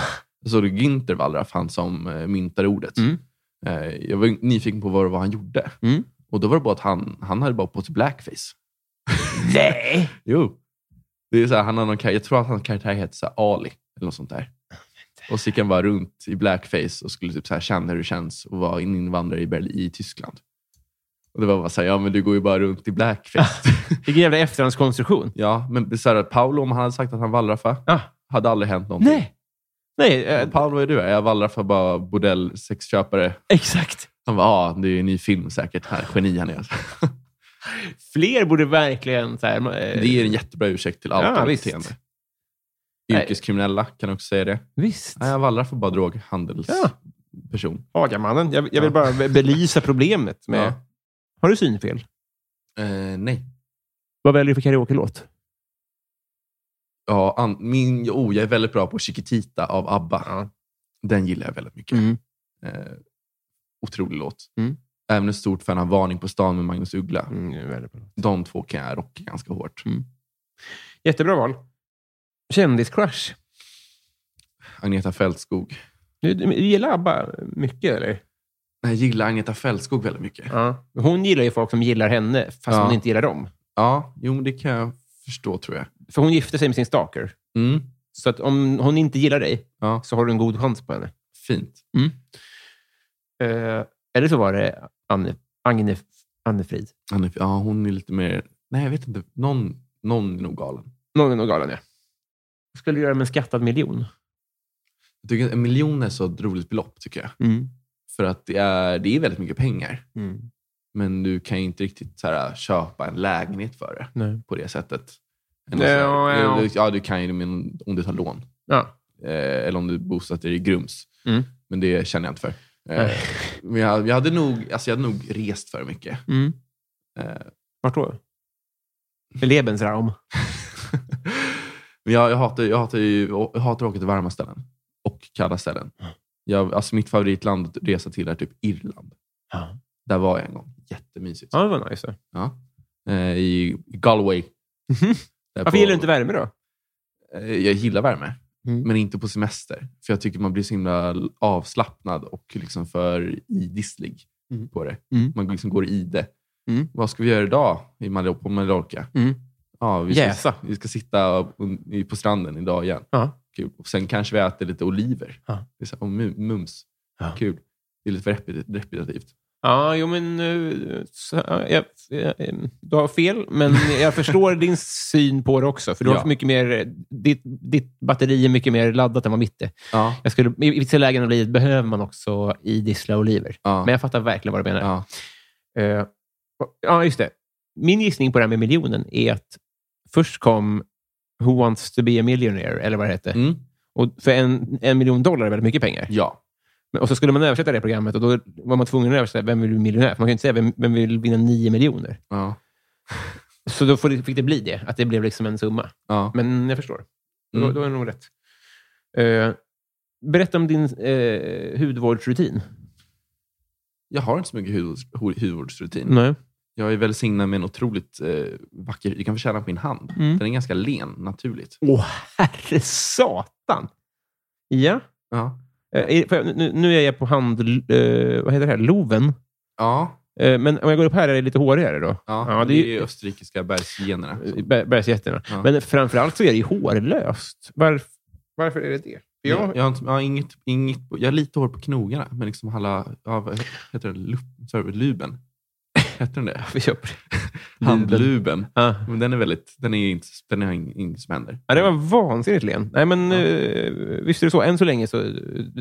Speaker 4: Så det Günther Wallraff, han som eh, myntade ordet.
Speaker 1: Mm.
Speaker 4: Eh, Jag var nyfiken på vad, det var han gjorde.
Speaker 1: Mm.
Speaker 4: Och då var det bara att han, han hade bara på sig blackface.
Speaker 1: Nej!
Speaker 4: Jo. Det är så här, han har någon, kar- jag tror att hans karaktär heter så här Ali eller något sånt där. Och så gick han bara runt i blackface och skulle typ så här känna hur det känns att vara en invandrare i, Berlin, i Tyskland. Och det var bara så här, ja men du går ju bara runt i blackface.
Speaker 1: Vilken jävla efterhandskonstruktion.
Speaker 4: ja, men det är så här, Paolo, om han hade sagt att han wallraffade,
Speaker 1: Ah.
Speaker 4: hade aldrig hänt någonting.
Speaker 1: Nej! Nej, eh,
Speaker 4: Paolo, vad är du? Jag wallraffar bara bordell, sexköpare.
Speaker 1: exakt.
Speaker 4: Han bara, ja, det är en ny film säkert. Här, geni han är. alltså."
Speaker 1: Fler borde verkligen... Så här, eh,
Speaker 4: Det är en jättebra ursäkt till allt
Speaker 1: Ja,
Speaker 4: annat
Speaker 1: visst.
Speaker 4: beteende.
Speaker 1: Nej.
Speaker 4: Yrkeskriminella kan också säga det.
Speaker 1: Visst.
Speaker 4: Nej, jag vallar för bara droghandelsperson.
Speaker 1: Hagamannen. Jag, jag vill
Speaker 4: Ja.
Speaker 1: bara be- belysa problemet. Med, Har du synfel?
Speaker 4: Eh, nej.
Speaker 1: Vad väljer du för karaoke-låt?
Speaker 4: Ja, an, min, oh, jag är väldigt bra på Chiquitita av ABBA.
Speaker 1: Ja.
Speaker 4: Den gillar jag väldigt mycket.
Speaker 1: Mm.
Speaker 4: Eh, otrolig låt.
Speaker 1: Mm.
Speaker 4: Även ett stort fan av Varning på stan med Magnus Uggla.
Speaker 1: Mm,
Speaker 4: De två kan jag rocka ganska hårt.
Speaker 1: Jättebra val. Kändiscrush.
Speaker 4: Agneta Fältskog.
Speaker 1: Du, du gillar ABBA mycket, eller?
Speaker 4: Jag gillar Agneta Fältskog väldigt mycket.
Speaker 1: Ja. Hon gillar ju folk som gillar henne, fast
Speaker 4: Ja.
Speaker 1: hon inte gillar dem.
Speaker 4: Ja, jo, men det kan jag förstå tror jag.
Speaker 1: För hon gifte sig med sin stalker.
Speaker 4: Mm.
Speaker 1: Så att om hon inte gillar dig,
Speaker 4: Ja.
Speaker 1: så har du en god chans på henne.
Speaker 4: Fint.
Speaker 1: Mm. Eh, eller så var det Anne, Agne, Annefrid.
Speaker 4: Han är, ja, hon är lite mer... Nej, jag vet inte. Någon, någon är nog galen.
Speaker 1: Någon är nog galen, ja. Vad skulle du göra med en skattad miljon?
Speaker 4: Jag tycker att en miljon är så ett roligt belopp, tycker jag. För att det är, det är väldigt mycket pengar.
Speaker 1: Mm.
Speaker 4: Men du kan ju inte riktigt så här, äh, köpa en lägenhet för det
Speaker 1: Nej.
Speaker 4: på det sättet.
Speaker 1: Ja, ja.
Speaker 4: Du, ja, du kan ju men om du tar lån.
Speaker 1: Ja.
Speaker 4: Eh, eller om du bosatt dig i Grums.
Speaker 1: Mm.
Speaker 4: Men det känner jag inte för. Eh,
Speaker 1: Nej.
Speaker 4: men jag, jag, hade nog, alltså jag hade nog rest för mycket.
Speaker 1: Mm.
Speaker 4: Eh,
Speaker 1: Vart då? Lebensraum.
Speaker 4: Men jag, jag, hatar, jag, hatar ju, jag hatar att åka till varma ställen och kalla ställen. Jag, alltså mitt favoritland att resa till är typ Irland.
Speaker 1: Ja.
Speaker 4: Där var jag en gång. Jättemysigt.
Speaker 1: Ja, det var nice.
Speaker 4: Ja. Eh, I Galway.
Speaker 1: Mhm.
Speaker 4: Där
Speaker 1: Varför
Speaker 4: på-
Speaker 1: gillar du inte värme då?
Speaker 4: Eh, Jag gillar värme,
Speaker 1: Mm.
Speaker 4: men inte på semester. För jag tycker man blir så himla avslappnad och liksom för idisslig
Speaker 1: Mm.
Speaker 4: på det.
Speaker 1: Mm.
Speaker 4: Man liksom går i det.
Speaker 1: Mm.
Speaker 4: Vad ska vi göra idag i Mal- på Mallorca?
Speaker 1: Mm.
Speaker 4: Ja, vi, ska,
Speaker 1: Jäsa.
Speaker 4: vi ska sitta un- på stranden idag igen.
Speaker 1: Ja.
Speaker 4: Kul. Och sen kanske vi äter lite oliver.
Speaker 1: Ja.
Speaker 4: Det är så här, och mu- mums.
Speaker 1: Ja.
Speaker 4: Kul. Det är lite repet- repetitivt.
Speaker 1: Ja, jo men... eh, Så, ja, jag, eh, du har fel, men jag förstår din syn på det också. För du har
Speaker 4: Ja.
Speaker 1: mycket mer, eh, ditt, ditt batteri är mycket mer laddat än vad mitt är.
Speaker 4: Ja.
Speaker 1: Jag skulle, I i vissa lägen av livet behöver man också idissla oliver.
Speaker 4: Ja.
Speaker 1: Men jag fattar verkligen vad du menar.
Speaker 4: ja.
Speaker 1: Eh, ja, just det. Min gissning på det här med miljonen är att först kom Who wants to be a millionaire, eller vad det hette.
Speaker 4: Mm.
Speaker 1: Och för en, en miljon dollar är väldigt mycket pengar.
Speaker 4: ja.
Speaker 1: Men- Och så skulle man översätta det programmet och då var man tvungen att översätta Vem vill bli miljonär? För man kan ju inte säga Vem, vem vill vinna 9 miljoner?
Speaker 4: Ja.
Speaker 1: Så då får det- fick det bli det, att det blev liksom en summa.
Speaker 4: Ja.
Speaker 1: Men jag förstår.
Speaker 4: Mm.
Speaker 1: Då, då är det nog rätt. Eh, berätta om din eh, hudvårdsrutin.
Speaker 4: Jag har inte så mycket hud- hu- hudvårdsrutin.
Speaker 1: Nej.
Speaker 4: Jag är välsignad med en otroligt eh, vacker... Du kan få känna på min hand.
Speaker 1: Mm.
Speaker 4: Den är ganska len, naturligt.
Speaker 1: Åh, herre satan! Ja.
Speaker 4: Ja.
Speaker 1: Eh, är- får jag- nu, nu är jag på hand... Eh, vad heter det här? Loven.
Speaker 4: Ja,
Speaker 1: Eh, men om jag går upp här är det lite hårigare då.
Speaker 4: ja.
Speaker 1: Ja,
Speaker 4: det,
Speaker 1: det
Speaker 4: är
Speaker 1: är Eh,
Speaker 4: ju österrikiska bergsgenerna.
Speaker 1: Ber- Bergsjätterna.
Speaker 4: Ja.
Speaker 1: Men framförallt så är det ju hårlöst. Varf, varför är det det? För
Speaker 4: Jag,
Speaker 1: jag,
Speaker 4: jag, har inte, jag, har inget, inget, jag har lite hår på knogarna, men liksom alla... Ja, vad heter den? Lup, sorry, luben? Heter den det?
Speaker 1: vi köper det.
Speaker 4: Handluben.
Speaker 1: Ah.
Speaker 4: Men den är väldigt... Den är inte... Den har ing- inget som händer.
Speaker 1: Ja, det var vansinnigt len. Nej, men
Speaker 4: Ja.
Speaker 1: eh, visst är det så. Än så länge så...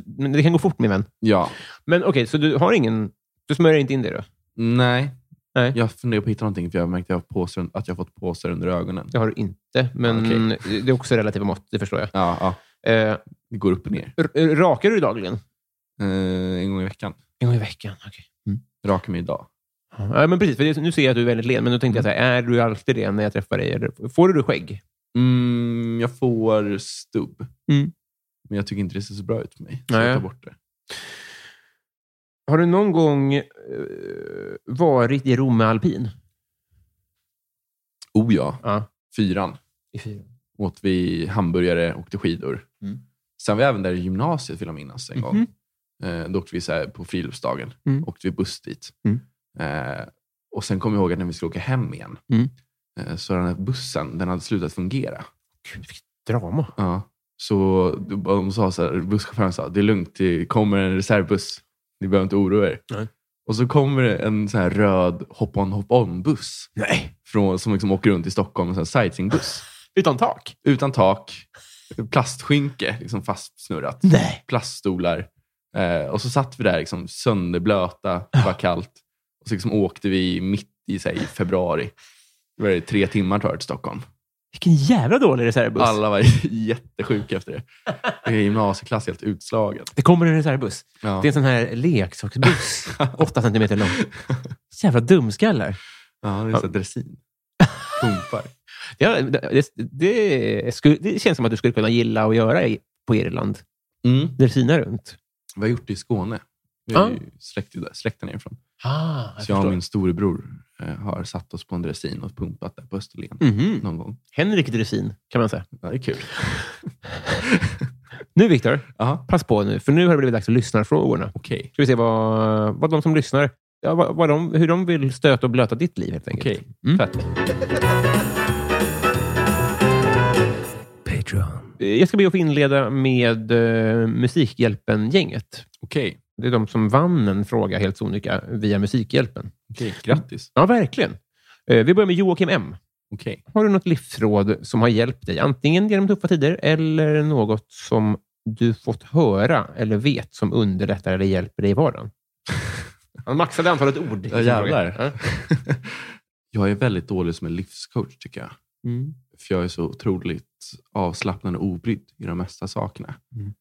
Speaker 1: Men det kan gå fort, min vän.
Speaker 4: Ja.
Speaker 1: Men okej, så du har ingen... Du smörjer inte in det då?
Speaker 4: Nej.
Speaker 1: Nej.
Speaker 4: Jag funderar på att hitta någonting, för jag har märkt att jag har, påsar, att jag har fått påsar under ögonen.
Speaker 1: Det har du inte, men
Speaker 4: Ja,
Speaker 1: det är också relativa mått, det förstår jag.
Speaker 4: Ja, ja.
Speaker 1: Eh,
Speaker 4: Det går upp och ner.
Speaker 1: r- r- rakar du dagligen?
Speaker 4: Eh, en gång i veckan.
Speaker 1: En gång i veckan. Okay.
Speaker 4: Rakar mig idag.
Speaker 1: Ja, men precis, för det, nu ser jag att du är väldigt len, men då tänkte jag så här, är du alltid len när jag träffar dig? Eller, får du skägg?
Speaker 4: Mm, jag får stubb.
Speaker 1: Mm.
Speaker 4: Men jag tycker inte det ser så bra ut för mig. Så
Speaker 1: Nej.
Speaker 4: jag tar bort det.
Speaker 1: Har du någon gång eh, varit i Romme alpin?
Speaker 4: Oh ja.
Speaker 1: Ja.
Speaker 4: Fyran.
Speaker 1: I fyran.
Speaker 4: Åt vi hamburgare och åkte skidor.
Speaker 6: Mm.
Speaker 4: Sen var jag även där i gymnasiet, vill jag minnas, en gång.
Speaker 1: Mhm.
Speaker 4: Eh, då åkte vi så här på friluftsdagen.
Speaker 1: Mm.
Speaker 4: Åkte vi buss dit.
Speaker 1: Mm.
Speaker 4: Eh, och sen kom jag ihåg att när vi skulle åka hem igen,
Speaker 1: Mm.
Speaker 4: eh, så den här bussen, den hade slutat fungera.
Speaker 1: Gud, vilket drama.
Speaker 4: Ja. Så de sa så här, busschauffören sa, det är lugnt, det kommer en reservbuss. Ni behöver inte oroa er.
Speaker 1: Nej.
Speaker 4: Och så kommer det en så här röd hop-on hop-on-buss.
Speaker 1: Nej.
Speaker 4: Från, som liksom åker runt i Stockholm, en sån här sightseeingbuss.
Speaker 1: Utan tak?
Speaker 4: Utan tak, plastskynke liksom fastsnurrat,
Speaker 1: Nej.
Speaker 4: plaststolar. Eh, och så satt vi där liksom, sönderblöta, det var kallt. Och så liksom åkte vi mitt i, så här, i februari. Det var tre timmar tar det till Stockholm.
Speaker 1: Vilken jävla dålig reservbuss.
Speaker 4: Alla var jättesjuka efter det. Det är gymnasieklass helt utslagen.
Speaker 1: Det kommer en reservbuss.
Speaker 4: Ja.
Speaker 1: Det är en sån här leksaksbuss. Åtta centimeter lång. Jävla dumskallar.
Speaker 4: Ja, det är så här dressin. Pumpar.
Speaker 1: Ja, det, det, skulle, det känns som att du skulle kunna gilla att göra i- på Irland.
Speaker 4: Mm.
Speaker 1: Delfina runt.
Speaker 4: Vi har gjort det i Skåne. Vi har
Speaker 1: Ja.
Speaker 4: ju släkt, släkten härifrån.
Speaker 1: Ah,
Speaker 4: Så jag och min storebror eh, har satt oss på en dressin och pumpat där på Österlen
Speaker 1: Mm.
Speaker 4: någon gång.
Speaker 1: Mhm. Henrik Dresin, kan man säga.
Speaker 4: Ja, det är kul.
Speaker 1: Nu, Viktor,
Speaker 4: Ja,
Speaker 1: pass på nu, för nu har det blivit dags för lyssnarfrågorna.
Speaker 4: okej.
Speaker 1: Ska vi se vad, vad de som lyssnar, ja, vad, vad de, hur de vill stöta och blöta ditt liv, helt enkelt.
Speaker 4: Okej.
Speaker 1: Mm.
Speaker 4: Fett.
Speaker 1: Eh, Jag ska be att få inleda med eh, Musikhjälpen-gänget.
Speaker 4: Okej.
Speaker 1: Det är de som vann en fråga helt sonika via Musikhjälpen.
Speaker 4: Okej, grattis.
Speaker 1: Ja, verkligen. Eh, Vi börjar med Joakim M.
Speaker 4: Okej.
Speaker 1: Har du något livsråd som har hjälpt dig, antingen genom tuffa tider eller något som du fått höra eller vet som underlättar eller hjälper dig i vardagen? Han maxade antalet ord. i
Speaker 4: Ja,
Speaker 1: sin
Speaker 4: jävlar.
Speaker 1: fråga.
Speaker 4: jag är väldigt dålig som en livscoach, tycker jag.
Speaker 1: Mm.
Speaker 4: För jag är så otroligt avslappnad och obrydd i de mesta sakerna.
Speaker 1: Mm.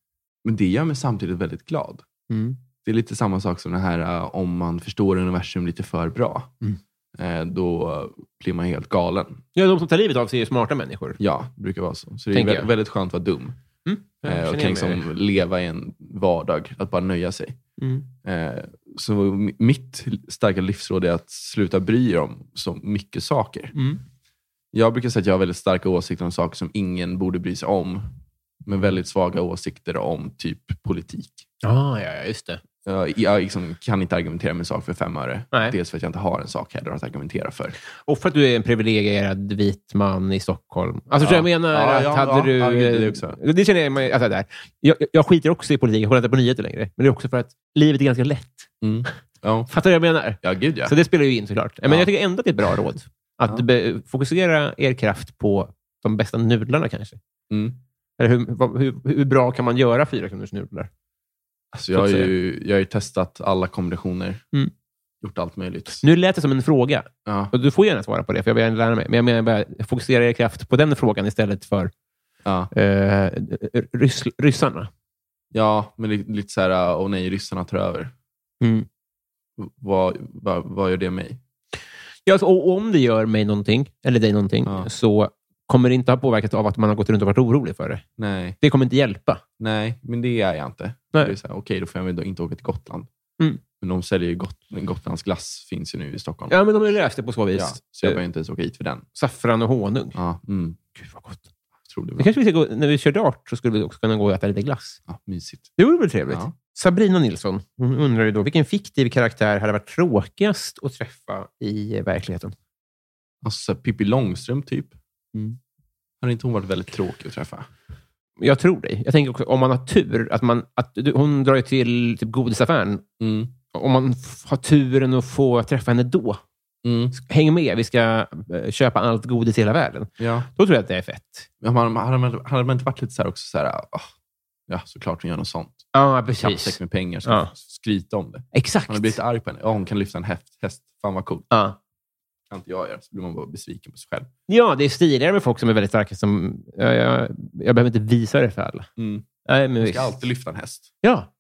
Speaker 4: Men det gör mig samtidigt väldigt glad.
Speaker 1: Mm.
Speaker 4: Det är lite samma sak som det här eh, om man förstår universum lite för bra.
Speaker 1: Mm.
Speaker 4: Eh, Då blir man helt galen.
Speaker 1: Ja, de som tar livet av sig är ju smarta människor.
Speaker 4: Ja, det brukar vara så. Så det är
Speaker 1: Tänker
Speaker 4: vä-
Speaker 1: jag. Mm.
Speaker 4: väldigt skönt att vara dum.
Speaker 1: Jag
Speaker 4: Eh,
Speaker 1: känner
Speaker 4: och kan
Speaker 1: igen mig.
Speaker 4: liksom leva i en vardag, att bara nöja sig.
Speaker 1: Mm.
Speaker 4: Eh, så mi- mitt starka livsråd är att sluta bry er om så mycket saker.
Speaker 1: Mm.
Speaker 4: Jag brukar säga att jag har väldigt starka åsikter om saker som ingen borde bry sig om, men väldigt svaga åsikter om typ politik.
Speaker 1: Ah, ja, ja, just det.
Speaker 4: Jag, jag liksom kan inte argumentera med en sak för fem öre.
Speaker 1: Nej.
Speaker 4: Dels för att jag inte har en sak heller att argumentera för.
Speaker 1: Och för att du är en privilegierad vit man i Stockholm. Alltså, ja. jag menar
Speaker 4: Ja,
Speaker 1: att
Speaker 4: ja,
Speaker 1: hade
Speaker 4: ja,
Speaker 1: du...
Speaker 4: ja, det är det också.
Speaker 1: det känner jag mig... Alltså, där. Jag, jag skiter också i politik. Jag kollar inte på nyheter längre. Men det är också för att livet är ganska lätt.
Speaker 4: Ja,
Speaker 1: Fattar du vad jag menar?
Speaker 4: ja gud ja.
Speaker 1: Så det spelar ju in såklart. Men
Speaker 4: Ja.
Speaker 1: jag tycker ändå att det är ett bra råd. Att
Speaker 4: Ja.
Speaker 1: be- fokusera er kraft på de bästa nudlarna kanske.
Speaker 4: Mm.
Speaker 1: Eller hur, vad- hur, hur bra kan man göra fyra kronors nudlar?
Speaker 4: Alltså, jag, har ju, jag har ju testat alla kombinationer,
Speaker 1: Mm.
Speaker 4: gjort allt möjligt.
Speaker 1: Nu lät det som en fråga.
Speaker 4: Ja,
Speaker 1: Och du får gärna svara på det, för jag vill gärna lära mig. Men jag menar bara, fokusera er kraft på den frågan istället för
Speaker 4: ja.
Speaker 1: eh, ryss, ryssarna.
Speaker 4: Ja, men li- lite så här, äh, åh nej, ryssarna tar över.
Speaker 1: Mm.
Speaker 4: V- Vad, vad, vad gör det mig?
Speaker 1: Ja, alltså, och om det gör mig någonting, eller dig någonting,
Speaker 4: Ja.
Speaker 1: så kommer det inte ha påverkat av att man har gått runt och varit orolig för det.
Speaker 4: Nej,
Speaker 1: Det kommer inte hjälpa.
Speaker 4: nej, men det är jag inte.
Speaker 1: Nej.
Speaker 4: Det är så här, Okej, då får jag väl då inte åka till Gotland.
Speaker 1: Mm.
Speaker 4: Men de säljer ju Got- Gotlands glass, finns ju nu i Stockholm.
Speaker 1: Ja, men de har ju löst det på så vis.
Speaker 4: Ja, så jag
Speaker 1: Eh,
Speaker 4: behöver inte ens åka hit för den.
Speaker 1: Saffran och honung.
Speaker 4: Ja, mm,
Speaker 1: Gud, vad gott.
Speaker 4: tror du
Speaker 1: Det
Speaker 4: väl.
Speaker 1: kanske vi ska gå, när vi kör dart så skulle vi också kunna gå och äta lite glass.
Speaker 4: Ja, mysigt.
Speaker 1: Det vore väl trevligt?
Speaker 4: Ja.
Speaker 1: Sabrina Nilsson hon undrar ju då, vilken fiktiv karaktär hade varit tråkigast att träffa i eh, verkligheten?
Speaker 4: Alltså, så här, Pippi Långstrump, typ.
Speaker 1: Mm.
Speaker 4: Har inte hon varit väldigt tråkig att träffa?
Speaker 1: Jag tror dig. Jag tänker också om man har tur. Att man, att du, hon drar ju till typ, godisaffären.
Speaker 4: Mm.
Speaker 1: Om man f- har turen att få träffa henne då.
Speaker 4: Mm.
Speaker 1: Häng med, vi ska eh, köpa allt godis i hela världen.
Speaker 4: Ja.
Speaker 1: Då tror jag att det är fett.
Speaker 4: Men Hade man, hade man, hade man inte varit lite så här också, så här, ah, ja, såklart hon gör något sånt.
Speaker 1: Ja,
Speaker 4: Kappsäck
Speaker 1: precis.
Speaker 4: med pengar, så
Speaker 1: Ja.
Speaker 4: skryta om det.
Speaker 1: Exakt.
Speaker 4: Man har blivit arg på henne. Ja, hon kan lyfta en häft, häst. Fan vad coolt.
Speaker 1: Ja.
Speaker 4: kan inte jag göra. Så blir man bara besviken på sig själv.
Speaker 1: ja, det är stiligare med folk som är väldigt starka. Som, jag, jag, jag behöver inte visa det för alla.
Speaker 4: Mm.
Speaker 1: Nej, men
Speaker 4: Man
Speaker 1: visst.
Speaker 4: ska alltid lyfta en häst.
Speaker 1: Ja,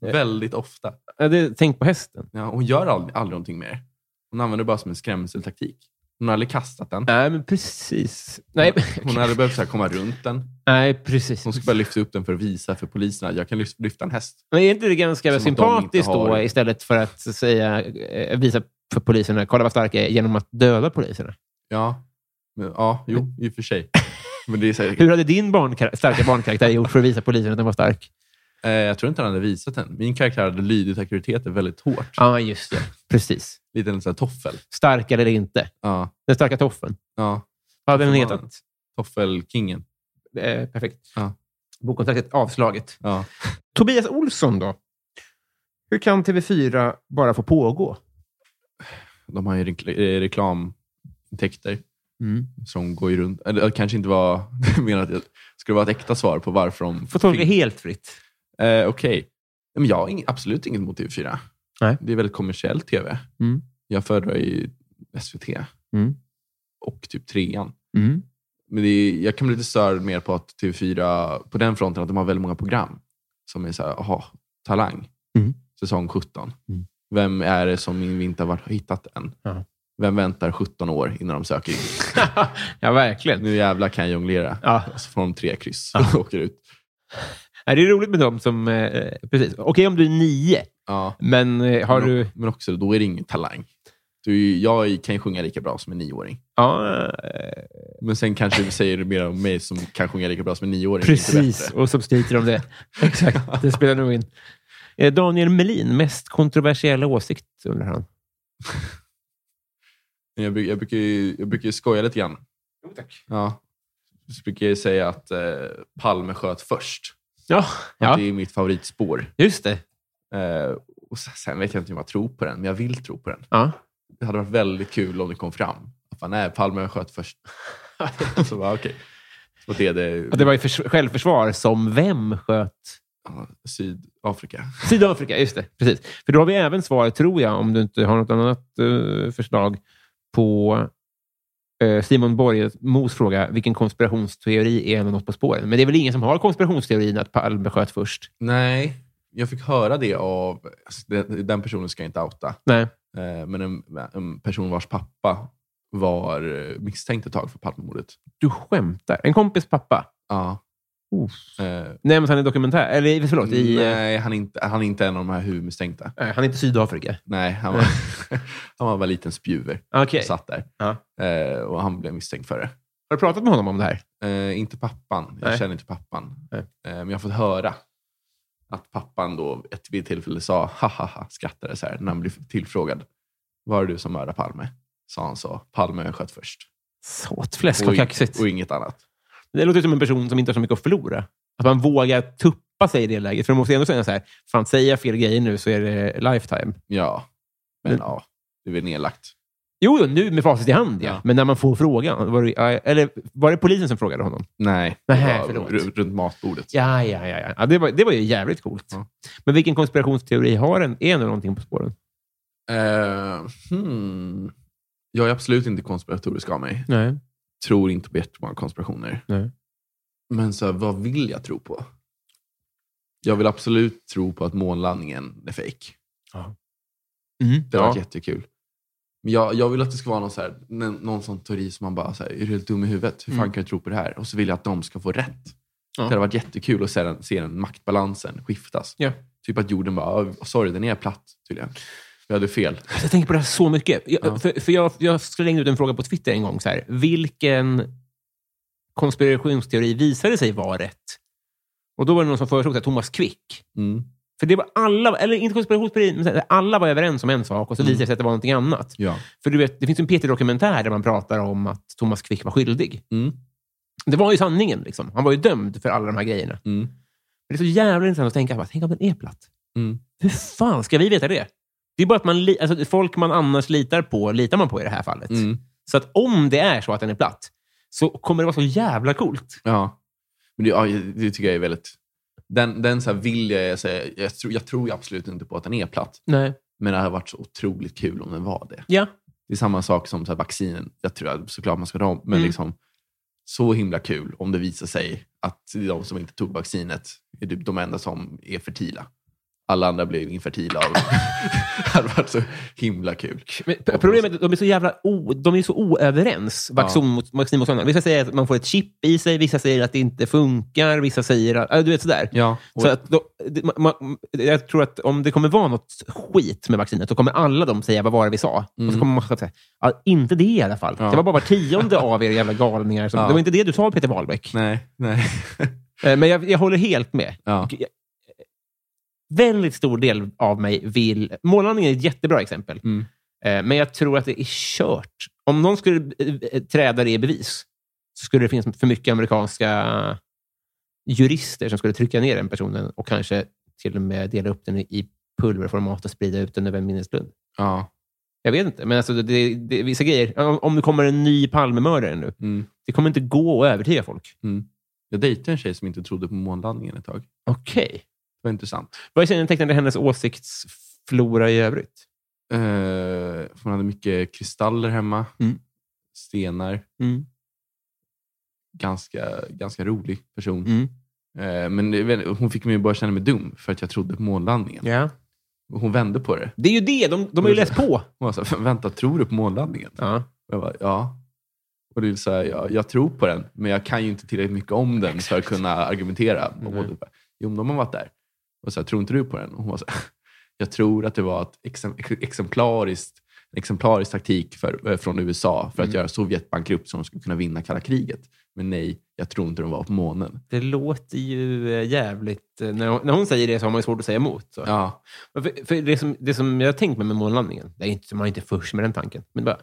Speaker 4: Väldigt ofta.
Speaker 1: Ja, det, tänk på hästen.
Speaker 4: Ja, hon gör aldrig, aldrig någonting mer. Hon använder det bara som en skrämseltaktik. Hon har aldrig kastat den.
Speaker 1: Nej, men precis. Nej,
Speaker 4: Hon hade behövt så här komma runt den.
Speaker 1: Nej precis.
Speaker 4: Hon ska bara lyfta upp den för att visa för poliserna att jag kan lyf- lyfta en häst.
Speaker 1: Men är inte det ganska
Speaker 4: Som att de
Speaker 1: sympatiskt
Speaker 4: inte har-
Speaker 1: då, istället för att säga, eh, visa för poliserna, kolla vad starka jag är, genom att döda poliserna?
Speaker 4: Ja, men, ja jo, i och för sig. Men det är så här,
Speaker 1: Hur hade din barnkar- starka barnkaraktär gjort för att visa polisen att den var stark?
Speaker 4: eh, jag tror inte han hade visat den. Min karaktär hade lydit auktoriteter väldigt hårt.
Speaker 1: Ja, just det. Precis.
Speaker 4: Lite en sån här toffel.
Speaker 1: Stark eller inte.
Speaker 4: Ja,
Speaker 1: Den starka toffen.
Speaker 4: ja.
Speaker 1: Vad hade den
Speaker 4: Toffemannen.
Speaker 1: hetat?
Speaker 4: Toffelkingen.
Speaker 1: Eh, perfekt.
Speaker 4: Ja.
Speaker 1: Bokkontraktet avslaget.
Speaker 4: Ja.
Speaker 1: Tobias Olsson då? Hur kan TV4 bara få pågå?
Speaker 4: De har ju rekl- eh, reklamintäkter
Speaker 1: Mm.
Speaker 4: som går ju runt. Eller, Det kanske inte var menat att det skulle vara ett äkta svar på varför de...
Speaker 1: Får tolka helt fritt.
Speaker 4: Eh, Okej. Men jag har ing, absolut inget mot TV4.
Speaker 1: Nej.
Speaker 4: Det är väldigt kommersiell TV.
Speaker 1: Mm.
Speaker 4: Jag föredrar ju SVT
Speaker 1: Mm.
Speaker 4: och typ trean. Men det är, jag kan bli lite störd mer på att TV4, på den fronten, att de har väldigt många program som är så här, aha, Talang,
Speaker 1: Mm.
Speaker 4: säsong 17.
Speaker 1: Mm.
Speaker 4: Vem är det som vi inte har varit- hittat än?
Speaker 1: Ja.
Speaker 4: Vem väntar 17 år innan de söker?
Speaker 1: ja, verkligen.
Speaker 4: nu jävla kan jag jonglera.
Speaker 1: Ja.
Speaker 4: Så får de tre kryss och åker ut.
Speaker 1: Nej, det är roligt med dem som... Eh, precis. Okej om du är nio,
Speaker 4: Ja.
Speaker 1: men eh, har
Speaker 4: men,
Speaker 1: du...
Speaker 4: men också, då är det ingen talang. Du, jag kan ju sjunga lika bra som en nioåring.
Speaker 1: Ja, eh,
Speaker 4: Men sen kanske du säger mer om mig som kan sjunga lika bra som en nioåring. inte
Speaker 1: precis.
Speaker 4: bättre.
Speaker 1: Och som skryter om det. Exakt, det spelar nog in. Eh, Daniel Melin, mest kontroversiella åsikt, undrar han.
Speaker 4: Men Jag, bruk- jag, brukar ju, jag brukar ju skoja lite grann. Ja. Så brukar jag ju säga att eh, Palme sköt först.
Speaker 1: Ja,
Speaker 4: Att
Speaker 1: ja
Speaker 4: Det är mitt favoritspår.
Speaker 1: just det.
Speaker 4: Eh, och sen, sen vet jag inte om jag tror på den, men jag vill tro på den.
Speaker 1: Ja.
Speaker 4: Det hade varit väldigt kul om det kom fram. Att man, nej, Palme sköt först. så bara, okej. Så det är det,
Speaker 1: Ja, Det var ju förs- självförsvar som vem sköt
Speaker 4: ja, Sydafrika.
Speaker 1: Sydafrika? Just det, precis. För då har vi även svar, tror jag, om du inte har något annat eh, förslag, på eh, Simon Borgemos fråga, vilken konspirationsteori är en av något på spåren? Men det är väl ingen som har konspirationsteorin att Palme sköt först?
Speaker 4: Nej, jag fick höra det av... Alltså, den, den personen ska jag inte outa.
Speaker 1: Nej.
Speaker 4: Eh, men en, en person vars pappa var eh, misstänkt ett tag för Palmemordet.
Speaker 1: Du skämtar? En kompis pappa?
Speaker 4: Ja.
Speaker 1: Oof.
Speaker 4: Eh,
Speaker 1: Nämns han i dokumentär? Eller i- förlåt, i... eh,
Speaker 4: nej, han är, inte, han är inte en av de här huvudmisstänkta.
Speaker 1: Nej, han är inte i Sydafrika.
Speaker 4: Nej, han var, han var bara en liten spjuver.
Speaker 1: Okej.
Speaker 4: och satt där.
Speaker 1: Ja.
Speaker 4: Eh, och han blev misstänkt för det.
Speaker 1: Har du pratat med honom om det här?
Speaker 4: Eh, inte pappan. Jag
Speaker 1: Nej.
Speaker 4: känner inte pappan.
Speaker 1: Nej.
Speaker 4: Eh, men jag har fått höra att pappan då ett vid tillfälle sa ha ha ha, skrattade så här när han blev tillfrågad. Var det du som mördade Palme? Sa han så. Palme sköt först.
Speaker 1: Såtfläsk,
Speaker 4: Och,
Speaker 1: vad
Speaker 4: in-
Speaker 1: kaxigt.
Speaker 4: och inget annat.
Speaker 1: Det låter som en person som inte har så mycket att förlora. Att man vågar tuppa sig i det läget. För man måste ändå säga så här, fan säger jag fel grejer nu så är det lifetime.
Speaker 4: Ja, men
Speaker 1: Men-
Speaker 4: ja, det är väl nedlagt.
Speaker 1: Jo, jo, nu med facit i hand, ja.
Speaker 4: Ja.
Speaker 1: Men när man får frågan. Var det, ja, eller var det polisen som frågade honom?
Speaker 4: Nej,
Speaker 1: Nähä,
Speaker 4: det var
Speaker 1: förlåt.
Speaker 4: ru- runt matbordet.
Speaker 1: Ja, ja, ja. ja. ja det, var, det var ju jävligt coolt.
Speaker 4: Ja.
Speaker 1: Men vilken konspirationsteori har en, är nu någonting på spåren?
Speaker 4: Eh, hmm. Jag är absolut inte konspiratorisk av mig.
Speaker 1: Nej.
Speaker 4: tror inte på jättemånga konspirationer.
Speaker 1: Nej.
Speaker 4: Men så här, vad vill jag tro på? Jag vill absolut tro på att månlandningen är fejk.
Speaker 1: Ja.
Speaker 6: Mhm.
Speaker 4: Det har varit
Speaker 1: Ja.
Speaker 4: jättekul. Men jag, jag vill att det ska vara någon, så här, n- någon sån teori som man bara, så här, är du helt dum i huvudet? Hur fan
Speaker 1: Mm.
Speaker 4: kan du tro på det här? Och så vill jag att de ska få rätt.
Speaker 1: Ja.
Speaker 4: Det hade varit jättekul att se den, se den maktbalansen skiftas.
Speaker 1: Ja.
Speaker 4: Typ att jorden bara, "Ah, sorry, den är platt tydligen. Jag hade fel.
Speaker 1: Jag tänker på det här så mycket. Jag,
Speaker 4: Ja.
Speaker 1: för, för jag, jag slängde ut en fråga på Twitter en gång. Så här. Vilken konspirationsteori visade sig vara rätt? Och då var det någon som föreslog så här, Thomas Quick.
Speaker 4: Mm.
Speaker 1: För det var alla, eller inte konspirationsteori, men så här, alla var överens om en sak och så visade det sig att det var någonting annat.
Speaker 4: Ja.
Speaker 1: För du vet, det finns en PT-dokumentär där man pratar om att Thomas Quick var skyldig.
Speaker 4: Mm.
Speaker 1: Det var ju sanningen. Liksom. Han var ju dömd för alla de här grejerna.
Speaker 4: Mm.
Speaker 1: Men det är så jävla intressant att tänka, bara, tänk om den är platt?
Speaker 4: Mm.
Speaker 1: Hur fan ska vi veta det? Det är bara att man, li- alltså, folk man annars litar på, litar man på i det här fallet.
Speaker 4: Mm.
Speaker 1: Så att om det är så att den är platt, så kommer det vara så jävla coolt.
Speaker 4: Ja. Men det, ja, det tycker jag är väldigt... Den, den så här vill jag, jag säga, jag tror, jag tror ju absolut inte på att den är platt.
Speaker 1: Nej.
Speaker 4: Men det hade varit så otroligt kul om den var det.
Speaker 1: Ja.
Speaker 4: Det är samma sak som så här vaccinen. Jag tror att såklart man ska ta om, men
Speaker 1: Mm.
Speaker 4: liksom, så himla kul om det visar sig att de som inte tog vaccinet är typ de enda som är fertila. Alla andra blev infertila. Av. det hade varit så himla kul.
Speaker 1: Men p- problemet är att de är så jävla o, de är så oöverens, vaccin mot, vaccin mot sådana. Vissa säger att man får ett chip i sig, vissa säger att det inte funkar, vissa säger att... äh, Du vet, sådär.
Speaker 4: Ja, och,
Speaker 1: Så att då, det- ma- ma- jag tror att om det kommer vara något skit med vaccinet, då kommer alla de säga vad var det vi sa. Och så
Speaker 4: Mm.
Speaker 1: kommer man säga, ja, inte det i alla fall.
Speaker 4: Ja.
Speaker 1: Det var bara var tionde av er jävla galningar. Som,
Speaker 4: Ja.
Speaker 1: Det var inte det du sa, Peter Wahlbeck.
Speaker 4: nej, nej.
Speaker 1: Eh, Men jag, jag håller helt med.
Speaker 4: ja.
Speaker 1: Och jag- Väldigt stor del av mig vill... Månlandningen är ett jättebra exempel.
Speaker 4: Mm.
Speaker 1: Eh, Men jag tror att det är kört. Om någon skulle eh, eh, träda det i bevis, så skulle det finnas för mycket amerikanska jurister som skulle trycka ner den personen och kanske till och med dela upp den i pulverformat och sprida ut den över en minneslund.
Speaker 4: ja.
Speaker 1: Jag vet inte, men alltså det, det, det är vissa grejer. Om, om det kommer en ny Palmemördare nu,
Speaker 4: Mm.
Speaker 1: det kommer inte gå att övertyga folk.
Speaker 4: Jag dejtade en tjej som inte trodde på månlandningen ett tag. Det
Speaker 1: Okej.
Speaker 4: var intressant.
Speaker 1: Vad kännetecknade hennes åsiktsflora i övrigt?
Speaker 4: Eh, för hon hade mycket kristaller hemma.
Speaker 1: Mm.
Speaker 4: Stenar.
Speaker 1: Mm.
Speaker 4: Ganska, ganska rolig person.
Speaker 1: Mm.
Speaker 4: Eh, Men det- väl, hon fick mig att börja känna mig dum för att jag trodde på månlandningen.
Speaker 1: Ja.
Speaker 4: Och Hon vände på det.
Speaker 1: Det är ju det. De, de har ju läst på.
Speaker 4: Hon var så här, vänta, tror du på månlandningen?
Speaker 1: Ja.
Speaker 4: Och jag bara, ja. Och det är så här, ja, jag tror på den, men jag kan ju inte tillräckligt mycket om den för att kunna argumentera. Och hon bara, jo, men de har varit där. Och så här, tror inte du på den? Och hon var så här, jag tror att det var ett exem- ex- exemplariskt en exemplarisk taktik för, eh, från USA för att göra Sovjet bankrutt så de skulle kunna vinna kalla kriget. Men nej, jag tror inte de var på månen.
Speaker 1: Det låter ju eh, jävligt... eh, När hon, när hon säger det så har man ju svårt att säga emot. Så.
Speaker 4: Ja,
Speaker 1: Men För, för det, som, det som jag har tänkt med, med månlandningen, det är inte, man är inte först med den tanken, men bara,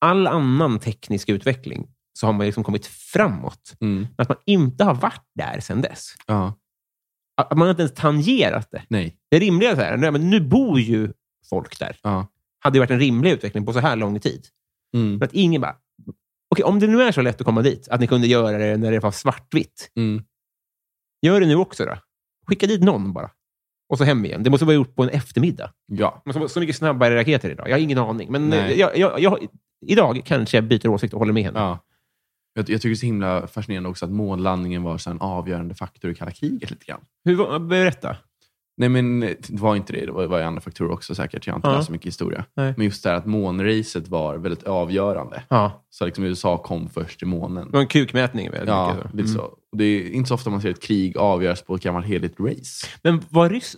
Speaker 1: all annan teknisk utveckling så har man ju liksom kommit framåt.
Speaker 4: mm.
Speaker 1: Men att man inte har varit där sedan dess.
Speaker 4: ja.
Speaker 1: Att att man inte ens tangerat det.
Speaker 4: nej.
Speaker 1: Det rimliga är så här, nej, men nu bor ju folk där.
Speaker 4: Ja.
Speaker 1: hade ju varit en rimlig utveckling på så här lång tid.
Speaker 4: Mm.
Speaker 1: Men att ingen bara... Okej, om det nu är så lätt att komma dit, att ni kunde göra det när det var svartvitt,
Speaker 4: Mm.
Speaker 1: gör det nu också då. Skicka dit någon bara. Och så hem igen. Det måste vara gjort på en eftermiddag.
Speaker 4: Ja.
Speaker 1: Det måste vara så mycket snabbare raketer idag. Jag har ingen aning. Men
Speaker 4: Nej.
Speaker 1: jag, jag, jag, idag kanske jag byter åsikt och håller med henne.
Speaker 4: ja. Jag, jag tycker det är så himla fascinerande också att månlandningen var så en avgörande faktor i kalla kriget. lite grann.
Speaker 1: Hur, var- berätta.
Speaker 4: Nej, men eh, det var inte det. Det var, det var ju andra faktorer också säkert. Jag har inte
Speaker 1: Ja.
Speaker 4: läst så mycket historia.
Speaker 1: Nej.
Speaker 4: Men just det här att månracet var väldigt avgörande.
Speaker 1: Ja,
Speaker 4: Så liksom USA kom först till månen.
Speaker 1: det var en kukmätning. Väldigt
Speaker 4: Ja,
Speaker 1: mycket. Mm.
Speaker 4: lite så. Och det är inte så ofta man ser ett krig avgöras på ett gammalt heligt race.
Speaker 1: Men var Ryss...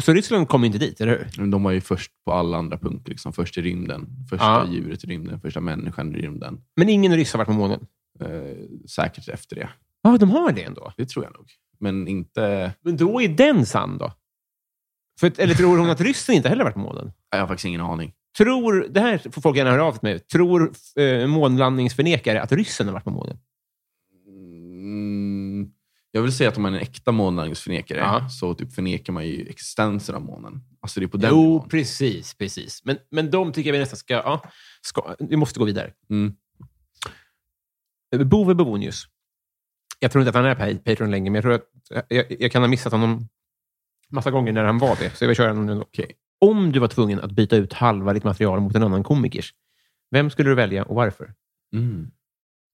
Speaker 1: Så Ryssland kom ju inte dit, eller hur?
Speaker 4: Men De var ju först på alla andra punkter. Liksom. Först i rymden, första
Speaker 1: Ja.
Speaker 4: djuret i rymden, första människan i rymden.
Speaker 1: Men ingen ryss har varit på månen.
Speaker 4: Eh, säkert efter det.
Speaker 1: Ja, de har det ändå.
Speaker 4: Det tror jag nog. Men inte...
Speaker 1: Men då är den sann då? För, att- eller tror hon att ryssen inte heller varit på månen?
Speaker 4: Jag har faktiskt ingen aning.
Speaker 1: Tror, det här får folk gärna höra av sig med. Tror eh, månlandningsförnekare att ryssen har varit på månen?
Speaker 4: Mm, jag vill säga att om man är en äkta månlandningsförnekare
Speaker 1: Ja.
Speaker 4: så typ förnekar man ju existensen av månen. Alltså det är på den
Speaker 1: jo,
Speaker 4: nivån.
Speaker 1: precis. precis. Men, men de tycker vi nästan ska, ja, ska... Vi måste gå vidare.
Speaker 4: Mm.
Speaker 1: Eh, Bove Bovonius. Jag tror inte att han är pa- Patreon längre, men jag tror att eh, jag, jag kan ha missat honom massa gånger när han var det. Så jag vill köra honom nu. ändå.
Speaker 4: Okej.
Speaker 1: Om du var tvungen att byta ut halva ditt material mot en annan komikers, vem skulle du välja och varför?
Speaker 4: Mm.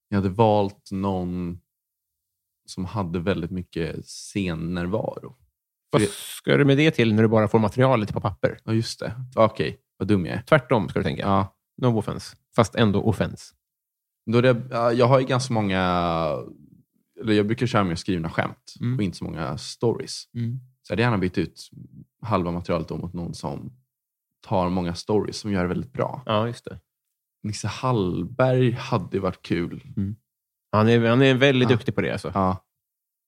Speaker 4: Jag hade valt någon som hade väldigt mycket scennärvaro.
Speaker 1: Vad ska du med det till när du bara får materialet på papper?
Speaker 4: Ja, just det. Okej, vad dum jag är.
Speaker 1: Tvärtom ska du tänka.
Speaker 4: Ja.
Speaker 1: No offense, fast ändå offense.
Speaker 4: Då är det, ja, jag har ju ganska många... Eller jag brukar köra mer skrivna skämt
Speaker 1: Mm.
Speaker 4: och inte så många stories.
Speaker 1: Mm.
Speaker 4: Så jag hade gärna bytt ut halva materialet då mot någon som tar många stories, som gör det väldigt bra.
Speaker 1: Ja, just det.
Speaker 4: Nisse Hallberg hade ju varit kul.
Speaker 1: Han är, han är väldigt
Speaker 4: Ja.
Speaker 1: duktig på det. Alltså.
Speaker 4: Ja.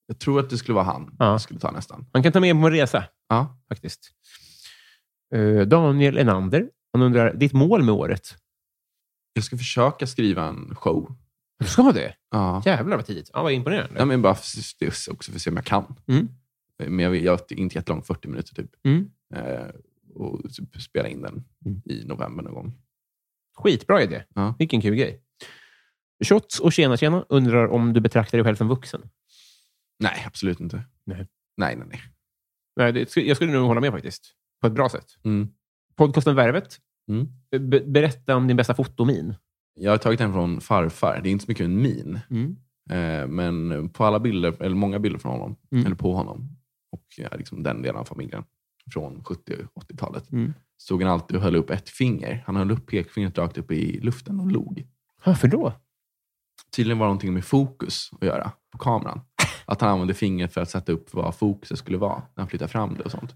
Speaker 4: Jag tror att det skulle vara han
Speaker 1: Ja.
Speaker 4: jag skulle ta nästan.
Speaker 1: Man kan ta med på en resa,
Speaker 4: Ja.
Speaker 1: faktiskt. Eh, Daniel Enander, han undrar, ditt mål med året?
Speaker 4: Jag ska försöka skriva en show.
Speaker 1: Du ska det?
Speaker 4: Ja.
Speaker 1: Jävlar vad tidigt. Ja, vad imponerande.
Speaker 4: Ja, men bara för, det är också för att se om jag kan.
Speaker 1: Mm.
Speaker 4: Men jag, vill- jag är inte jättelång, 40 minuter typ.
Speaker 1: Mm.
Speaker 4: Eh, och typ spela in den
Speaker 1: Mm.
Speaker 4: i november någon gång.
Speaker 1: Skitbra idé.
Speaker 4: Ja.
Speaker 1: Vilken kul grej. Shots och tjena tjena undrar om du betraktar dig själv som vuxen.
Speaker 4: Nej, absolut inte.
Speaker 1: Nej.
Speaker 4: Nej, nej, nej.
Speaker 1: Nej, det, jag skulle nog hålla med faktiskt. På ett bra sätt.
Speaker 4: Mm.
Speaker 1: Podcasten Värvet.
Speaker 4: Mm.
Speaker 1: Be- berätta om din bästa fotomin.
Speaker 4: Jag har tagit den från farfar. Det är inte så mycket en min.
Speaker 1: Mm.
Speaker 4: Eh, men på alla bilder, eller många bilder från honom,
Speaker 1: Mm.
Speaker 4: eller på honom och ja, liksom den delen av familjen från 70 och 80-talet,
Speaker 1: Mm.
Speaker 4: stod han alltid och höll upp ett finger. Han höll upp pekfingret rakt upp i luften och log.
Speaker 1: Varför då?
Speaker 4: Tydligen var det någonting med fokus att göra på kameran. Att han använde fingret för att sätta upp vad fokuset skulle vara när han flyttade fram det och sånt.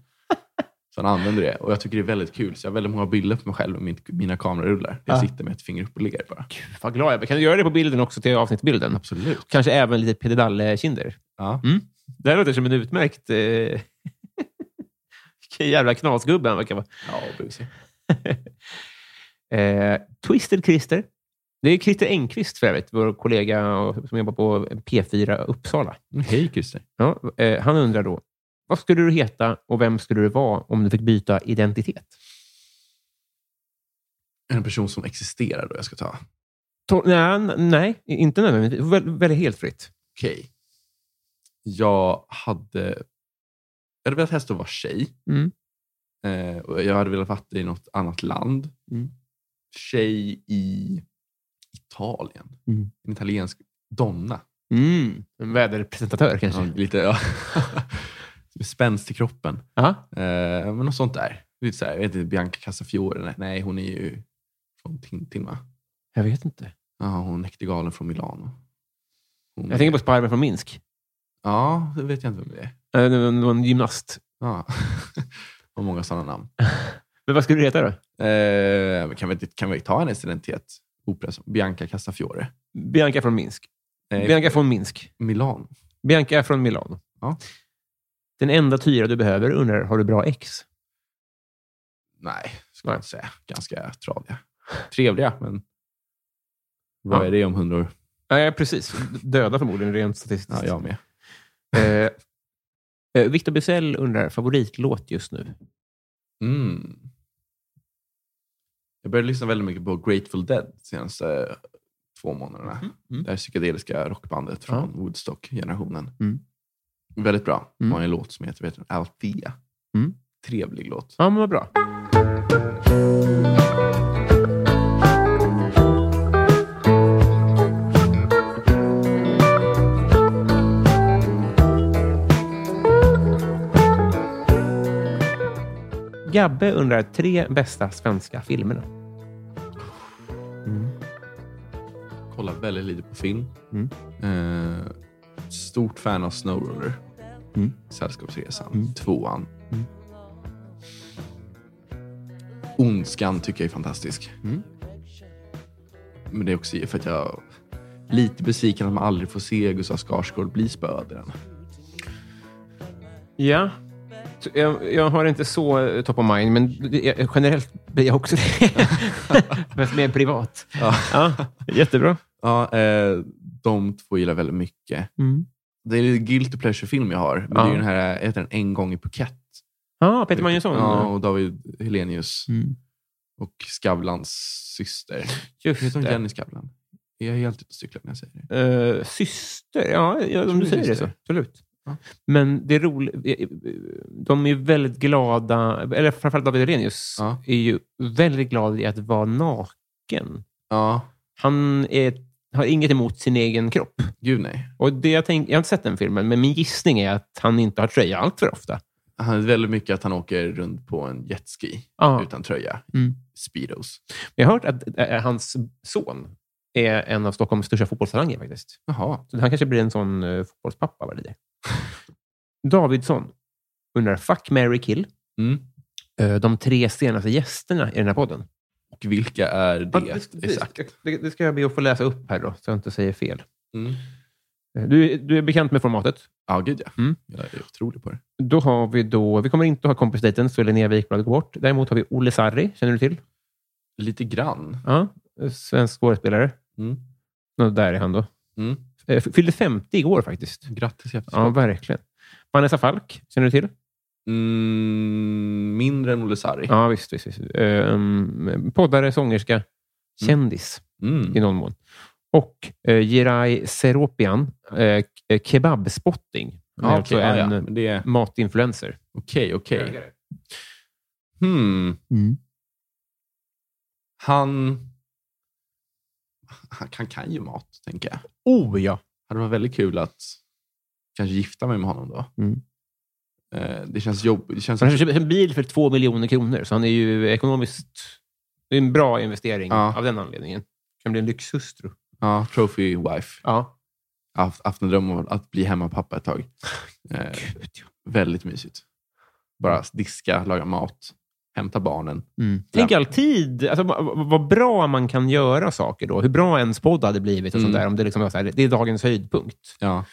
Speaker 4: Så han använder det och jag tycker det är väldigt kul. Så jag har väldigt många bilder på mig själv och min, mina kamerarullar. Jag
Speaker 1: Ja.
Speaker 4: sitter med ett finger upp och ler bara.
Speaker 1: Vad glad jag blir. Kan du göra det på bilden också till avsnittsbilden?
Speaker 4: Absolut.
Speaker 1: Kanske även lite pededalle-kinder.
Speaker 4: Ja.
Speaker 1: Det här låter som en utmärkt... Eh... Vilken jävla knasgubbe han verkar vara.
Speaker 4: Ja, busig.
Speaker 1: Eh, Twisted Christer. Det är Christer Engqvist för övrigt, vår kollega och- som jobbar på P4 Uppsala.
Speaker 4: Hej Christer.
Speaker 1: Ja, eh, han undrar då, vad skulle du heta och vem skulle du vara om du fick byta identitet?
Speaker 4: En person som existerar då jag ska ta.
Speaker 1: To- nej, n- nej, inte nödvändigtvis. Väl, väldigt helt fritt.
Speaker 4: okej. Jag hade... Jag hade velat helst att vara tjej.
Speaker 1: Mm.
Speaker 4: Eh, och jag hade velat vara i något annat land.
Speaker 1: Mm.
Speaker 4: Tjej i Italien.
Speaker 1: Mm.
Speaker 4: En italiensk donna.
Speaker 1: En väderpresentatör kanske?
Speaker 4: Ja, lite ja. spänst i kroppen.
Speaker 1: Ja.
Speaker 4: Eh, men något sånt där. Lite så här, jag vet inte, Bianca Casafiore. Nej, Nej, hon är ju från Tintin va?
Speaker 1: Jag vet inte.
Speaker 4: Ja, hon är galen från Milano. Hon,
Speaker 1: Jag tänker på Spiderman från Minsk.
Speaker 4: Ja, det vet jag inte vem det är.
Speaker 1: Eh, Det var det var en gymnast.
Speaker 4: Ja. Och många sådana namn.
Speaker 1: Men vad skulle du heta då?
Speaker 4: Eh, men kan, vi, kan vi ta hennes identitet? Operas, Bianca Castafiore.
Speaker 1: Bianca från Minsk.
Speaker 4: Eh,
Speaker 1: Bianca från Minsk.
Speaker 4: Milano.
Speaker 1: Bianca från Milano.
Speaker 4: Ja.
Speaker 1: Den enda Tyra du behöver undrar, har du bra ex?
Speaker 4: Nej, ska
Speaker 1: Nej.
Speaker 4: jag inte säga. Ganska tradiga. Trevliga, men vad
Speaker 1: Ja.
Speaker 4: är det om hundra år?
Speaker 1: Nej, precis. Döda förmodligen, rent statistiskt.
Speaker 4: Ja, jag med.
Speaker 1: Eh, eh, Victor Bysell undrar, favoritlåt just nu?
Speaker 4: Mm. Jag började lyssna väldigt mycket på Grateful Dead de senaste två månaderna.
Speaker 1: Mhm,
Speaker 4: Det här psykedeliska rockbandet från Woodstock-generationen.
Speaker 1: Mm.
Speaker 4: Väldigt bra.
Speaker 1: Mm.
Speaker 4: De har en låt som heter vet du, Althea.
Speaker 1: Mm.
Speaker 4: Trevlig låt.
Speaker 1: Ja, men vad bra. Gabbe undrar tre bästa svenska filmerna.
Speaker 4: kollar väldigt lite på film.
Speaker 1: Mm.
Speaker 4: Eh, stort fan av Snowroller.
Speaker 1: Mm.
Speaker 4: Sällskapsresan.
Speaker 1: Mm.
Speaker 4: Tvåan.
Speaker 1: Mm.
Speaker 4: Ondskan tycker jag är fantastisk.
Speaker 1: Mm.
Speaker 4: Men det är också för att jag är lite besviken att man aldrig får se Gustav Skarsgård bli spöad i den.
Speaker 1: Ja. Så Jag, jag har inte så eh, top of mind, men det- jag, generellt blir jag också det. Fast mer privat.
Speaker 4: Ja.
Speaker 1: Ja, jättebra.
Speaker 4: Ja, eh, de två gillar jag väldigt mycket.
Speaker 1: Mm.
Speaker 4: Det är en guilty pleasure-film jag har. Men det är
Speaker 1: Ja.
Speaker 4: ju den här, heter den En gång i Phuket?
Speaker 1: Ja, Peter Magnusson.
Speaker 4: Ja, och David Helenius.
Speaker 1: Mm.
Speaker 4: och Skavlans syster.
Speaker 1: Just
Speaker 4: Heter hon
Speaker 1: det.
Speaker 4: Jenny Skavlan? Är jag helt ute och cyklar när jag säger det?
Speaker 1: Eh, syster, ja, ja om
Speaker 4: tror
Speaker 1: du
Speaker 4: det är
Speaker 1: säger det så.
Speaker 4: syster.
Speaker 1: Absolut.
Speaker 4: Ja.
Speaker 1: Men det är roligt. eh, De är ju väldigt glada, eller framförallt David Hellenius
Speaker 4: Ja.
Speaker 1: är ju väldigt glad i att vara naken.
Speaker 4: Ja,
Speaker 1: Han, är, har inget emot sin egen kropp.
Speaker 4: Gud nej.
Speaker 1: Och det jag, tänk, jag har inte sett den filmen, men min gissning är att han inte har tröja allt för ofta.
Speaker 4: Han är väldigt mycket att han åker runt på en jetski
Speaker 1: Ja.
Speaker 4: utan tröja.
Speaker 1: Mm.
Speaker 4: Speedos.
Speaker 1: Men jag har hört att eh, hans son är en av Stockholms största fotbollstalanger faktiskt.
Speaker 4: Jaha.
Speaker 1: Så han kanske blir en sån eh, fotbollspappa vad det lider. Davidsson undrar, fuck, Mary kill.
Speaker 4: Mm.
Speaker 1: Eh, de tre senaste gästerna i den här podden.
Speaker 4: Och vilka är det?
Speaker 1: Ja,
Speaker 4: exakt?
Speaker 1: Det, det ska jag be att få läsa upp här då, så jag inte säger fel.
Speaker 4: Mm.
Speaker 1: Eh, Du, du är bekant med formatet.
Speaker 4: Ja, gud ja.
Speaker 1: Mm.
Speaker 4: Jag är otrolig på det.
Speaker 1: Då har vi då, vi kommer inte att ha kompisdejten, så Linnea Wikblad går bort. Däremot har vi Olle Sarri, känner du till?
Speaker 4: Lite grann.
Speaker 1: Ja, svensk skådespelare.
Speaker 4: Mm.
Speaker 1: Nå, där är han då.
Speaker 4: Mm.
Speaker 1: Eh, Fyllde 50 igår faktiskt.
Speaker 4: Grattis i
Speaker 1: Ja,
Speaker 4: efterskott.
Speaker 1: verkligen. Vanessa Falk, känner du till?
Speaker 4: Mm. Mindre än Olle Sarri.
Speaker 1: Ja, visst. visst, visst. Ehm, poddare, sångerska, kändis i
Speaker 4: Mm.
Speaker 1: någon mån. Och eh, Jirai Seropian, eh, k- kebabspotting. Han är
Speaker 4: Ja,
Speaker 1: också
Speaker 4: okej, ja,
Speaker 1: en
Speaker 4: ja. Men det är-
Speaker 1: matinfluencer.
Speaker 4: Okej, okej. Hmm.
Speaker 1: Mm.
Speaker 4: Han... Han kan, kan ju mat, tänker jag.
Speaker 1: Oh ja!
Speaker 4: hade varit väldigt kul att kanske gifta mig med honom då.
Speaker 1: Mm.
Speaker 4: Eh, Det känns jobbigt. Det känns
Speaker 1: Han har köpt en bil för två miljoner kronor, så han är ju ekonomiskt... Det är en bra investering
Speaker 4: Ja.
Speaker 1: av den anledningen. Kan bli en lyxhustru.
Speaker 4: ja, trophy wife.
Speaker 1: Ja.
Speaker 4: Jag har haft- haft en dröm om att bli hemmapappa ett tag. Eh, väldigt mysigt. Bara diska, laga mat, hämta barnen.
Speaker 1: Tänk all tid, alltså, va- va- vad bra man kan göra saker då. Hur bra ens podd hade blivit och sånt
Speaker 4: Mm.
Speaker 1: där. Om det, liksom var så här, det är dagens höjdpunkt.
Speaker 4: Ja.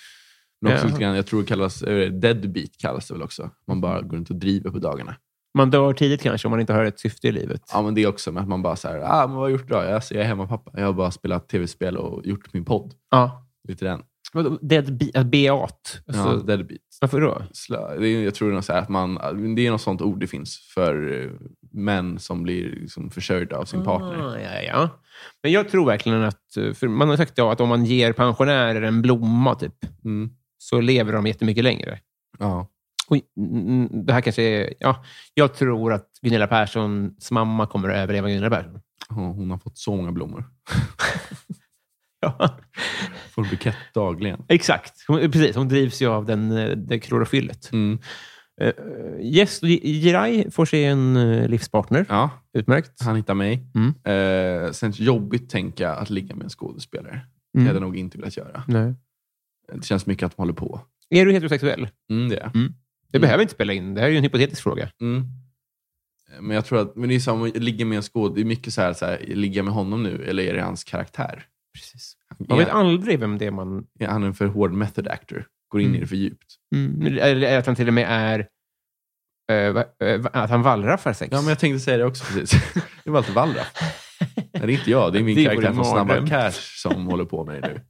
Speaker 4: Men också
Speaker 1: Ja.
Speaker 4: lite grann, jag tror det kallas eh, deadbeat kallas det väl också. Man bara går runt och driver på dagarna.
Speaker 1: Man dör tidigt kanske om man inte har ett syfte i livet.
Speaker 4: Ja, men det också med att man bara så här, ah, men vad har jag gjort idag? Jag, alltså, jag är hemmapappa. Jag har bara spelat tv-spel och gjort min podd.
Speaker 1: Ja.
Speaker 4: Lite den.
Speaker 1: Vadå? Dead be- äh, beat. Alltså,
Speaker 4: Ja, deadbeat.
Speaker 1: Varför då?
Speaker 4: slö. Det är, jag tror det är, något så här att man, det är något sånt ord det finns för eh, män som blir liksom försörjda av sin partner.
Speaker 1: Ah, ja, ja. Men jag tror verkligen att... eh, För man har sagt ja, att om man ger pensionärer en blomma typ,
Speaker 4: Mm.
Speaker 1: så lever de jättemycket längre.
Speaker 4: Ja.
Speaker 1: Och, mm, mm, det här kanske är, ja, jag tror att Gunilla Perssons mamma kommer att överleva Gunilla Persson.
Speaker 4: Hon hon har fått så många blommor.
Speaker 1: Ja,
Speaker 4: Får en bukett dagligen.
Speaker 1: exakt. Hon, eh, precis, hon drivs ju av den, eh, det klorofyllet.
Speaker 4: Mm.
Speaker 1: Eh, eh, Yes, och J- Jirai får sig en eh, livspartner.
Speaker 4: Ja,
Speaker 1: Utmärkt.
Speaker 4: han hittar mig.
Speaker 1: Mm.
Speaker 4: Eh, sen jobbigt tänka att ligga med en skådespelare. Det
Speaker 1: Mm.
Speaker 4: hade jag nog inte velat göra.
Speaker 1: Nej.
Speaker 4: Det känns mycket att de håller på.
Speaker 1: Är du heterosexuell?
Speaker 4: Mm, det är. jag.
Speaker 1: Det
Speaker 4: Mm.
Speaker 1: behöver inte spela in. Det här är ju en hypotetisk fråga.
Speaker 4: Mm. Eh, Men jag tror att men det är samma, ligga med en skåd, det är mycket så här, så här, ligga med honom nu eller är det hans karaktär?
Speaker 1: Precis. Man vet
Speaker 4: Är-
Speaker 1: aldrig vem det är man...
Speaker 4: är han en för hård method actor? Går in i det för djupt?
Speaker 1: Mm. Eller att han till och med är... eh, va- eh, va- att han wallraffar sex.
Speaker 4: Ja, men jag tänkte säga det också precis. Det var alltid Wallraff. Nej, det är inte jag. Det är min
Speaker 1: Det vore
Speaker 4: karaktär från
Speaker 1: mardröm.
Speaker 4: Snabba Cash som håller på med det nu.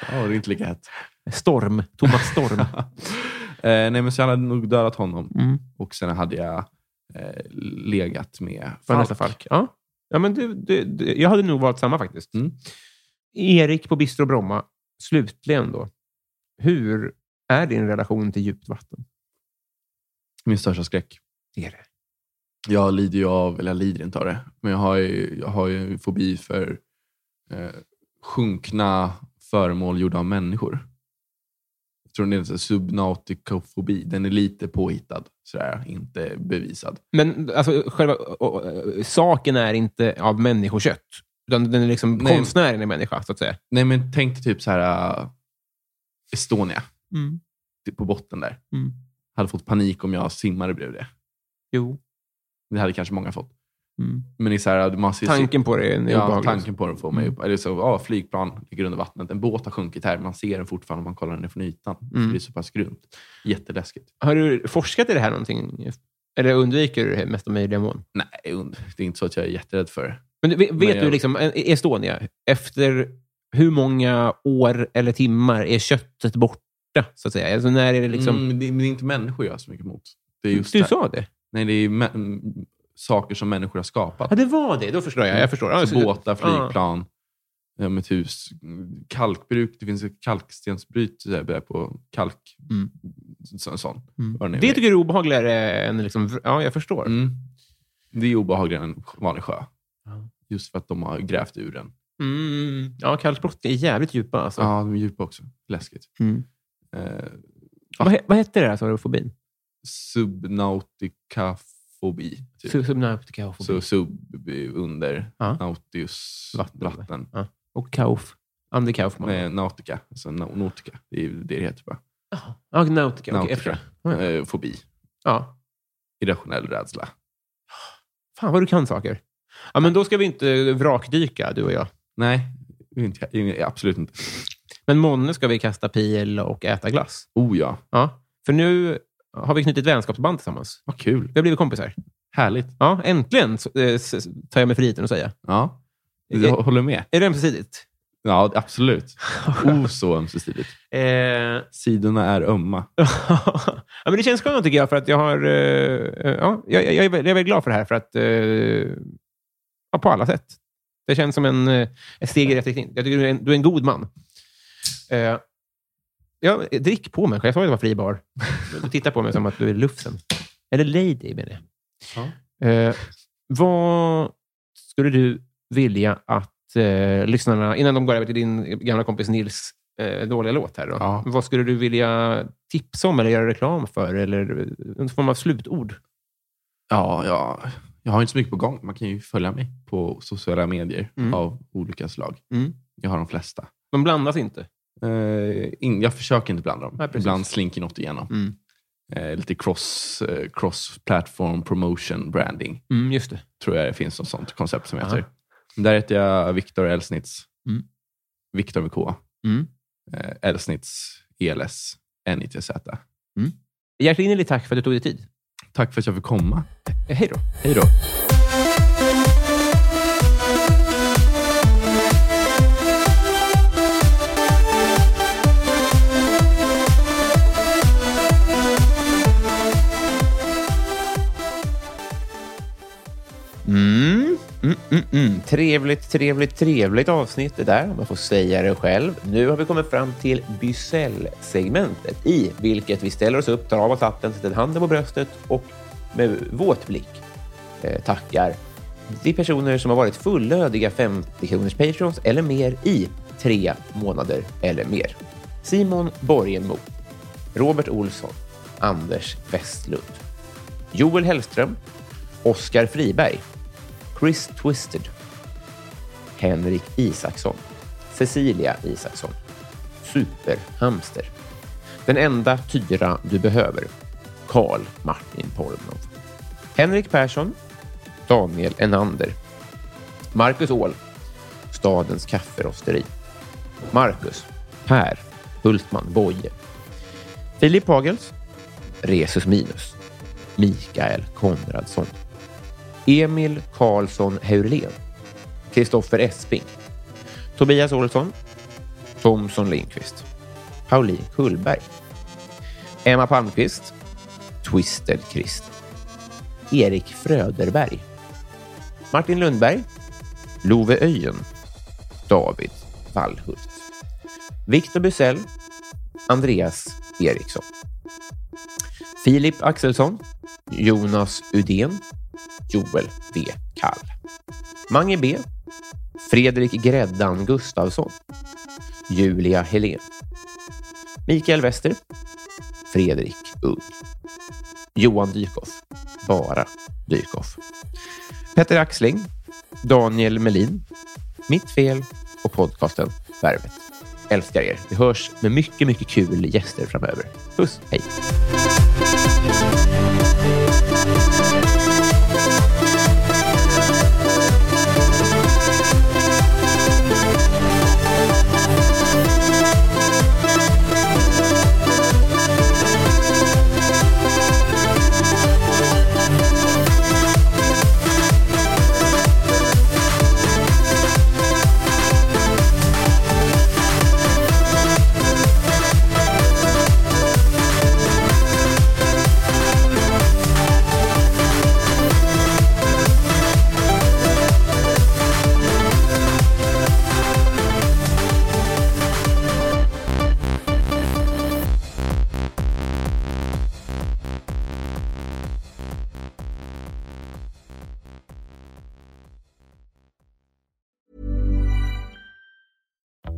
Speaker 4: Så, ja, det är inte lika hett.
Speaker 1: Storm. Thomas Storm.
Speaker 4: Eh, nej, men så jag hade nog dödat honom.
Speaker 1: Mm.
Speaker 4: Och sen hade jag eh, legat med
Speaker 1: Vanessa
Speaker 4: Falk.
Speaker 1: Falk. Ja. Ja, men du, du, du, jag hade nog valt samma faktiskt.
Speaker 4: Mm.
Speaker 1: Erik på Bistro Bromma, slutligen då. Hur är din relation till djupt vatten?
Speaker 4: Min största skräck.
Speaker 1: Är det?
Speaker 4: Jag lider ju av, eller jag lider inte av det, men jag har ju, jag har ju en fobi för eh, sjunkna föremål gjorda av människor. Jag tror det är en sån här subnautikofobi. Den är lite påhittad, sådär, inte bevisad.
Speaker 1: Men alltså, själva och, och, och, saken är inte av människokött. Utan den är liksom,
Speaker 4: Nej.
Speaker 1: konstnären är människa, så att säga.
Speaker 4: Nej, men tänk dig typ så här äh, Estonia
Speaker 1: Mm.
Speaker 4: typ på botten där.
Speaker 1: Mm.
Speaker 4: Hade fått panik om jag simmade bredvid det.
Speaker 1: Jo.
Speaker 4: Det hade kanske många fått.
Speaker 1: Mm.
Speaker 4: Men det är så här, man ser
Speaker 1: Tanken på det är
Speaker 4: ja,
Speaker 1: obehaglig.
Speaker 4: tanken på den får mig upp. Eller så, ja, flygplan ligger under vattnet. En båt har sjunkit här. Man ser den fortfarande om man kollar ner från ytan.
Speaker 1: Mm.
Speaker 4: För det är så pass grymt. Jätteläskigt.
Speaker 1: Har du forskat i det här någonting? Eller undviker du det mesta möjliga mån?
Speaker 4: Nej, und- det är inte så att jag är jätterädd för det.
Speaker 1: Men du, vet vet
Speaker 4: jag-
Speaker 1: du, liksom, eh, Estonia, efter hur många år eller timmar är köttet borta? Så att säga? Alltså, när är det liksom...
Speaker 4: Mm, det, men det är inte människor jag har så mycket emot. Det är just
Speaker 1: du
Speaker 4: det här.
Speaker 1: sa det?
Speaker 4: Nej, det är mä- m- saker som människor har skapat.
Speaker 1: Ja, det var det. Då förstår jag. Jag förstår. Ja,
Speaker 4: Mm. Så
Speaker 1: så-
Speaker 4: båtar, flygplan, ja. ett hus, kalkbruk. Det finns ett kalkstensbryt så här, på kalk.
Speaker 1: Mm.
Speaker 4: Så, sån.
Speaker 1: Mm.
Speaker 4: Vad nu
Speaker 1: Det
Speaker 4: är.
Speaker 1: tycker du är obehagligare än... Liksom, ja, jag förstår.
Speaker 4: Mm. Det är obehagligare än en vanlig sjö. Just för att de har grävt ur den
Speaker 1: Mm. Ja, kallsprocket är jävligt djupa. Alltså.
Speaker 4: Ja, de är djupa också. Läskigt.
Speaker 1: Mm.
Speaker 4: Eh,
Speaker 1: Vad, he- vad hette det där, sa du? Fobin?
Speaker 4: subnautikafobi. Typ.
Speaker 1: Su- Subnautica och fobi.
Speaker 4: Så sub är under,
Speaker 1: Ja.
Speaker 4: nautius,
Speaker 1: Vatten.
Speaker 4: vatten.
Speaker 1: Ja. Och Kauf. Andy Kaufman.
Speaker 4: Nej, nautica. Alltså nau- nautica. Det är ju det det heter bara.
Speaker 1: Ja, ah, Nautica. Okej, jag
Speaker 4: Nautica.
Speaker 1: förstår. Ja, ja.
Speaker 4: Eh, fobi.
Speaker 1: Ja.
Speaker 4: Irrationell rädsla.
Speaker 1: Fan vad du kan saker. Ja, men då ska vi inte vrakdyka, du och jag.
Speaker 4: Nej, inte, inte, absolut inte.
Speaker 1: Men månne ska vi kasta pil och äta glass.
Speaker 4: Oh ja,
Speaker 1: Ja. För nu har vi knutit vänskapsband tillsammans.
Speaker 4: vad kul.
Speaker 1: Vi har blivit kompisar.
Speaker 4: Härligt.
Speaker 1: Ja, äntligen så- eh, s- s- tar jag mig friheten att säga.
Speaker 4: Ja, du
Speaker 1: Eh,
Speaker 4: håller med?
Speaker 1: Är det ömsesidigt?
Speaker 4: Ja, absolut. Oh, så ömsesidigt.
Speaker 1: Eh,
Speaker 4: Sidorna är ömma.
Speaker 1: ja, men det känns skönt tycker jag, för att jag har... eh, eh, ja, jag, jag, jag är väl- jag är väldigt glad för det här, för att... Eh, ja, på alla sätt. Det känns som en, eh, ett steg i rätt riktning. Jag tycker du är en, du är en god man. Eh, ja, drick på människa. Jag sa ju att det var fri bar. Men Du tittar på mig som att du är lufsen. Eller lady, menar jag. Eh, vad skulle du vilja att eh, lyssnarna, innan de går över till din gamla kompis Nils eh, dåliga låt här, då,
Speaker 4: Ja.
Speaker 1: vad skulle du vilja tipsa om eller göra reklam för? Eller eh, någon form av slutord?
Speaker 4: Ja, ja, jag har inte så mycket på gång. Man kan ju följa mig på sociala medier
Speaker 1: Mm.
Speaker 4: av olika slag.
Speaker 1: Mm.
Speaker 4: Jag har de flesta.
Speaker 1: De blandas inte.
Speaker 4: Eh, in, jag försöker inte blanda dem.
Speaker 1: Nej, precis.
Speaker 4: Ibland slinker något igenom.
Speaker 1: Mm.
Speaker 4: Eh, lite cross, eh, cross-platform promotion branding,
Speaker 1: Mm, just det.
Speaker 4: tror jag det finns något sånt koncept som
Speaker 1: Aha.
Speaker 4: heter. Där heter jag Viktor Elsnitz.
Speaker 1: Mm.
Speaker 4: Viktor med K.
Speaker 1: Mm.
Speaker 4: Eh, Elsnitz, E ELS, NITZ.
Speaker 1: Hjärtinnerligt tack för att du tog dig tid.
Speaker 4: Tack för att jag fick komma.
Speaker 1: Eh, Hej då.
Speaker 4: Hej då.
Speaker 1: Mm. Mm, mm, mm. Trevligt, trevligt, trevligt avsnitt det där, om jag får säga det själv. Nu har vi kommit fram till Bysell-segmentet i vilket vi ställer oss upp, tar av oss hatten, sätter handen på bröstet och med våt blick eh, tackar de personer som har varit fullödiga 50 kronors patrons eller mer i tre månader eller mer. Simon Borgenmo, Robert Olsson, Anders Westlund, Joel Hellström, Oskar Friberg, Chris Twisted, Henrik Isaksson, Cecilia Isaksson, Superhamster, Den enda tyra du behöver, Karl Martin Pormnov, Henrik Persson, Daniel Enander, Marcus Åhl, Stadens kafferosteri, Marcus, Per, Hultman Boye, Filip Pagels, Resus Minus, Mikael Konradsson, Emil Karlsson Heurlen, Kristoffer Esping, Tobias Olsson, Thomson Lindqvist, Pauline Kullberg, Emma Palmqvist, Twisted Christ, Erik Fröderberg, Martin Lundberg, Love Öjen, David Wallhult, Viktor Bysell, Andreas Eriksson, Filip Axelsson, Jonas Udén, Joel V. Kall. Mange B. Fredrik Gräddan Gustafsson. Julia Helén. Mikael Wester. Fredrik Ung. Johan Dykhoff. Bara Dykhoff. Petter Axling. Daniel Melin. Mitt fel och podcasten Värvet. Älskar er. Vi hörs med mycket, mycket kul gäster framöver. Puss, hej!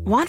Speaker 7: Want